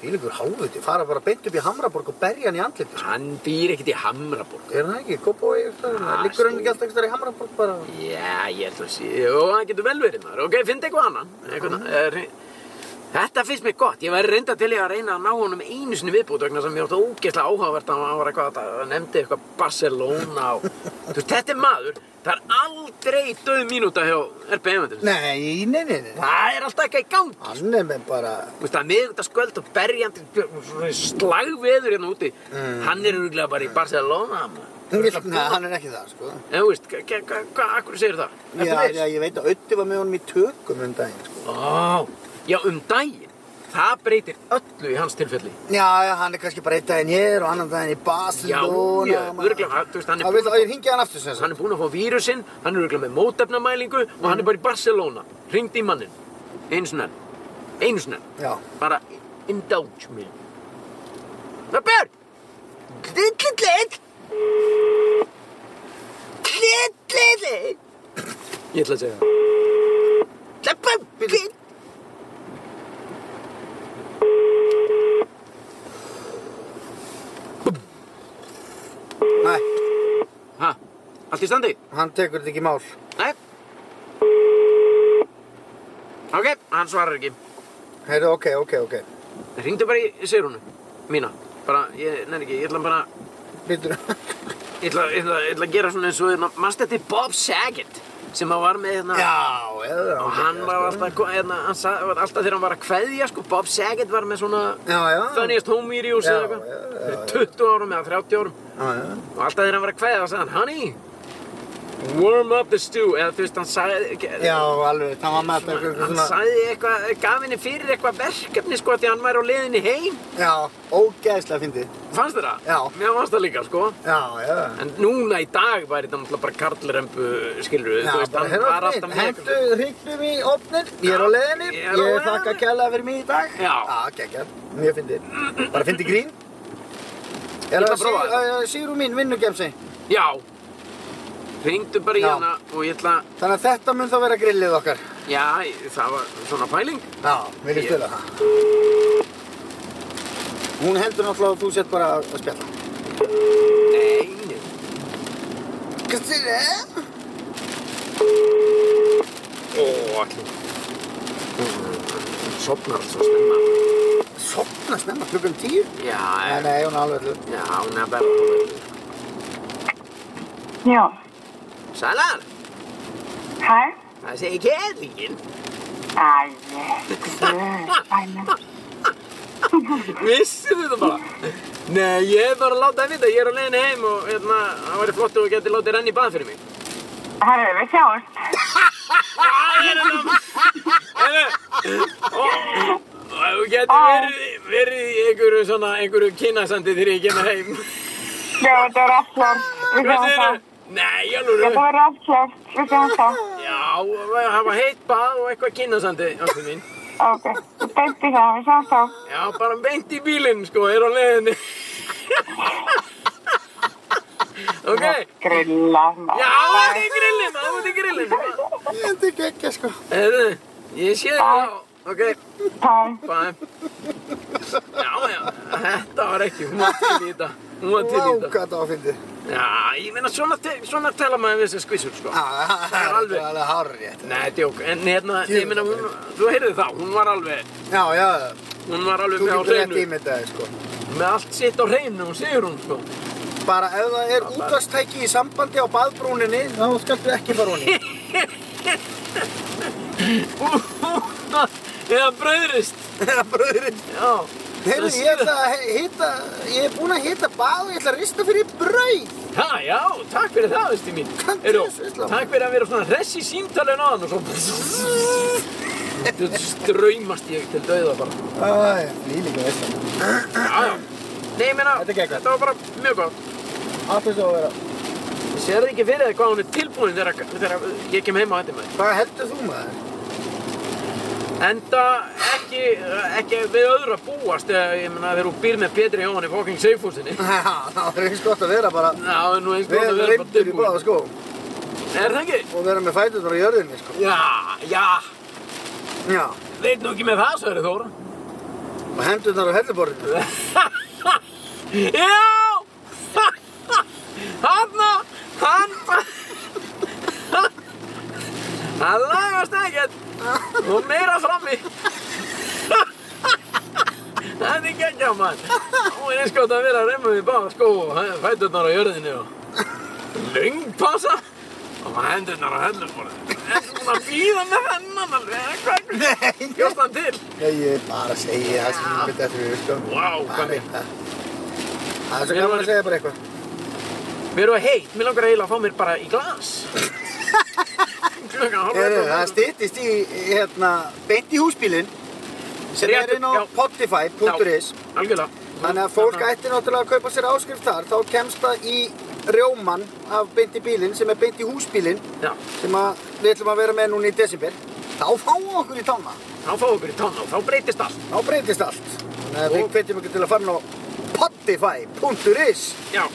S1: Því líkur háfuti, fara bara beint upp í Hamraborg og berja hann í andliti, sko.
S2: Hann býr ekkert í Hamraborg.
S1: Er hann ekki, Kópói, eitthvað,
S2: Ah,
S1: liggur hann
S2: stór.
S1: ekki alltaf eitthvað í Hamraborg bara?
S2: Já, ég held að sé, jú, það getur vel verið maður, ok, finnst eitthvað annan, eitthvað er, Þetta finnst mér gott, ég væri reynda til ég að reyna að ná honum einu sinni viðbútt vegna sem ég átti ógeðslega áhugavert að hann var eitthvað að hann nefndi eitthvað Barcelona og Þú veist, þetta er maður, það er aldrei döð mínúta hjá RB Evendur
S1: Nei, nei, nei, nei.
S2: Það er alltaf eitthvað í gangi
S1: Hann er með bara,
S2: Þú veist, það er miðvikudaskvöld og berjandi svona slagveður hérna úti Hann er örgulega bara í Barcelona maður.
S1: nei, hann er ekki það, sko.
S2: En þú veist, hvað, hvað, hvað, hvað, akkur segir það? Ertu
S1: Já,
S2: viss?
S1: já, ég veit að Ötti var með honum í tökum um daginn, sko.
S2: Ó, já um daginn. Það breytir öllu í hans tilfelli.
S1: Já, já, hann er kannski bara einn daginn hér og annan daginn í
S2: Já,
S1: Barcelona.
S2: já, örugglega, hann- þú veist, hann er
S1: Það vil að ég hringi hann aftur sem
S2: Hann
S1: þess.
S2: er búinn að fá vírusinn, hann er örgulega með mótefnamælingu og
S1: Mm.
S2: hann er bara í Barcelona. Ringd í mannin. Einu sinni. enn. Einu sinni. enn.
S1: Já.
S2: Bara indulge me. Rappur! Glittlitlitt! Glittlitlitt! Ég ætla að segja það. Rappur! Glitt!
S1: Nei,
S2: Ha? Allt í standi?
S1: hann tekur þetta ekki í mál.
S2: Nei. Ok, hann svarar ekki.
S1: Heyrðu, ok, ok, ok.
S2: Ringdu bara í Sigrúnu, mína. Bara, ég nefn ekki, ég ætla bara,
S1: (laughs) Býtur,
S2: ég ætla, ég ætla, ég ætla að gera svona eins og, hérna, mannst þetta er Bob Saget sem að var með hérna.
S1: já, sko. eða.
S2: Og hann var alltaf, ko- hérna, hann sa, var alltaf þegar hann var að kveðja, sko, Bob Saget var með svona
S1: Já, já.
S2: Funniest Home Videos
S1: Já,
S2: eða eitthvað.
S1: já, já,
S2: Fyrir
S1: já.
S2: 20 árum eða 30 árum.
S1: Já, já.
S2: Og alltaf þegar hann var að kveðja, þá sagði hann, honey, warm up the stew. Eða þú veist, hann sagði,
S1: Já, alveg, það var með þetta eitthvað
S2: Hann
S1: svona.
S2: sagði eitthvað, gaf henni fyrir eitthvað verkefni sko því hann væri á leiðinni heim.
S1: Já, ógeðslega fyndið.
S2: Fannst þér það?
S1: Já.
S2: Mér fannst það líka sko.
S1: Já, já.
S2: En núna í dag væri þetta náttúrulega bara karlrembu, skilur við,
S1: Já,
S2: þú veist,
S1: bara
S2: hann
S1: heyrðu
S2: var
S1: ofnin,
S2: alltaf með
S1: hendu
S2: eitthvað.
S1: hrygnum í ofnin, ég er á leiðinni,
S2: Ég
S1: ég
S2: er á leiðinni.
S1: þakka kjærlega fyrir mig í dag.
S2: Já.
S1: Já, geggjað, mjög fyndið. Bara fyndið grín. Er það
S2: ætla að prófa
S1: Sig-
S2: þetta.
S1: að Sigrún mín vinnugemsi?
S2: Já. Ringdu bara í
S1: Já.
S2: hana og ég ætla,
S1: Þannig að þetta mun þá vera grillið okkar.
S2: já, það var svona pæling.
S1: Já, vil ég
S2: Ég-
S1: spila það? Hún heldur náttúrulega að þú sett bara að að spjalla.
S2: Nei, nei.
S1: Kristíne?
S2: Ó, allir. Sopnar svo snemma.
S1: Sopna snemma, klukkan tíu?
S2: Já,
S1: Nei,
S2: nei.
S1: nei, hún er alveg allu.
S2: já, hún er bara.
S5: Já,
S2: Sælar,
S5: hæ?
S2: það segir kæðlingin.
S5: Æ, ég, guð, bænum.
S2: Vissi þetta bara? Nei, ég er bara að láta það vita, ég er á leiðinni heim og hérna, það væri flott og getið látið renni í bað fyrir mig.
S5: Herru, við sjáumst.
S2: Og þú getur verið, verið í einhverju svona, einhverju kynasandi þegar ég kemur heim.
S5: Já, þetta er allt klart. Við
S2: Hvað
S5: sjáumst
S2: segirðu?
S5: þá.
S2: Nei, alveg,
S5: Þetta verður allt klart. Við sjáumst þá.
S2: já, að hafa heitt bað og eitthvað kynasandi, áttu mín.
S5: Ok, við beint í það. Við sjáumst þá.
S2: Já, bara beint í bílinn, sko, er á leiðinni. ok,
S5: Grilla. maður.
S2: já, þú ert í grillin, þú ert í grillin.
S1: Þetta er geggja sko.
S2: Herðu, ég sé það, ok,
S5: Bye.
S2: bæm. Já, já, þetta var ekki, hún var til í þetta, hún var til í
S1: Vá,
S2: þetta.
S1: hvað það var fyndið.
S2: Já, ég meina, svona, te- svona tala maður við þessi skvísur, sko.
S1: Já, það er
S2: alveg.
S1: alveg hárrétt.
S2: Nei, djók, en hérna, ég meina, hún, þú heyrði þá, hún var alveg,
S1: Já, já,
S2: hún var alveg
S1: þú
S2: með á
S1: getur rétt
S2: hreinu,
S1: ímyndaði sko.
S2: með allt sitt á hreinu, hún segir hún, sko. (laughs)
S1: Bara ef það er útastæki í sambandi á baðbrúninni, þá skaltu ekki fara honi. (laughs)
S2: Eða bröðrist,
S1: Eða bröðurinn.
S2: já.
S1: Heyrðu,
S2: Það
S1: ég
S2: sé-
S1: ætla að hita, ég er búinn að hita bað og ég ætla að rista fyrir brauð.
S2: Ha, já, takk fyrir það, veistu mín.
S1: Hvað
S2: Heyrðu,
S1: er þessi Ísland?
S2: Takk fyrir að vera svona hress í símtalinu á hann og svo... Þetta ströymast ég til dauða bara.
S1: Æ, líka veist það.
S2: Já, já. Nei, ég meina,
S1: Þetta er geggjað.
S2: var bara mjög gott.
S1: Allt þess að vera.
S2: Ég sér ekki fyrir það hvað hún er tilbúin þegar, þegar ég kem heim á þetta maður.
S1: Hvað heldur þú maður? (laughs)
S2: Enda ekki, ekki við öðru að búast eða ég meina þegar hún býr með Pétri Jóhann í fucking Seifúsinni.
S1: Já, það er eins gott að vera bara
S2: Já, en nú eins og
S1: vel
S2: það verður bara
S1: reyndur í
S2: tilbúin.
S1: báða skó
S2: Er það ekki?
S1: og vera með fæturnar á jörðinni, sko.
S2: Já, já,
S1: Já,
S2: veit nú ekki með það, svo eru Þóra.
S1: og hendurnar á (laughs) helluborðinu.
S2: Já! Hanna! Hann! Það lagast ekkert! Og meira frammi! Það er geggja mann! Hún er eins gott að vera að remma við báða skó og fæturnar á jörðinni og löngpassa og hendurnar á helluborðinu. Er svona að býða með hennan alveg, eða hvað?
S1: Nei,
S2: Gjóst hann til?
S1: Nei, ég er bara að segja það sem ég myndi eftir við, sko.
S2: Vá, hvað
S1: Bara
S2: mér?
S1: eitthvað. Það er svo
S2: Mér
S1: gaman
S2: var-
S1: að segja bara eitthvað.
S2: Mér erum að heitt, mér langar eiginlega að fá mér bara í glas. Klukkan hálf
S1: Heyrðu, það styttist í, hérna, beint í húsbílinn sem er
S2: Réttu-
S1: inn á
S2: já. Hérna.
S1: Spotify.is
S2: Algjörlega.
S1: Þannig að fólk ætti náttúrulega að kaupa sér áskrift þar, þá kemst það í rjóman af beint í bílinn sem er beint í húsbílinn
S2: Já,
S1: sem að við ætlum að vera með núna í desember. Þá fáum við okkur í tána,
S2: þá fáum við okkur í tanna og þá breytist allt.
S1: þá breytist allt. Þannig að við hvetjum okkur til að fara inn á Spotify.is
S2: Já.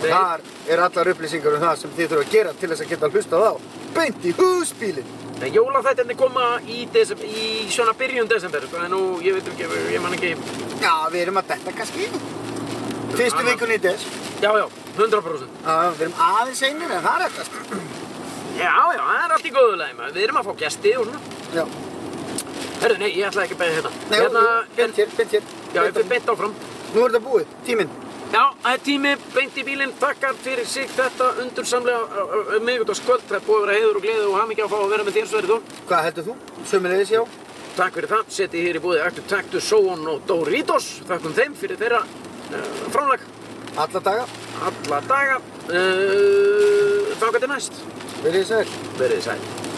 S2: Þeir,
S1: Þar er allar upplýsingar um það sem þið þurfa að gera til þess að geta hlustað á beint í húsbílinn.
S2: þeir jólaþættinni koma í, desem, í svona byrjun desember, sko, en nú, ég veit ekki, ég man ekki,
S1: Já, við erum að detta kannski. Fyrstu
S2: Annað.
S1: vikunni í des.
S2: já, já, 100%.
S1: Já, við erum aðeins einir en það er eftir.
S2: Já, já, það er allt í góðulegi, maður. Við erum að fá gesti og svona.
S1: Já,
S2: Herðu, nei, ég ætla ekki að beða hérna.
S1: Nei,
S2: hérna,
S1: beint
S2: en,
S1: hér, beint hér.
S2: já, ég
S1: Beint
S2: fyrir beint áfram.
S1: á- Nú er þetta búið, tíminn.
S2: Já, það er tími, beint í bílinn, takkar fyrir sig þetta undursamlega miðugutaskvöld. Það er búið að vera heiður og gleði og hamingja að fá að vera með þér, Sverri Þór.
S1: Hvað heldur þú? Sömulegis, já.
S2: Takk fyrir það, setið hér í búið Aktu Taktu, Sóon og Dóri Vítos. Þakkum þeim fyrir þeirra uh, framlag
S1: Alla daga.
S2: alla daga. Uh, Þákað til næst,
S1: Verið þið sæl.
S2: verið þið sæl.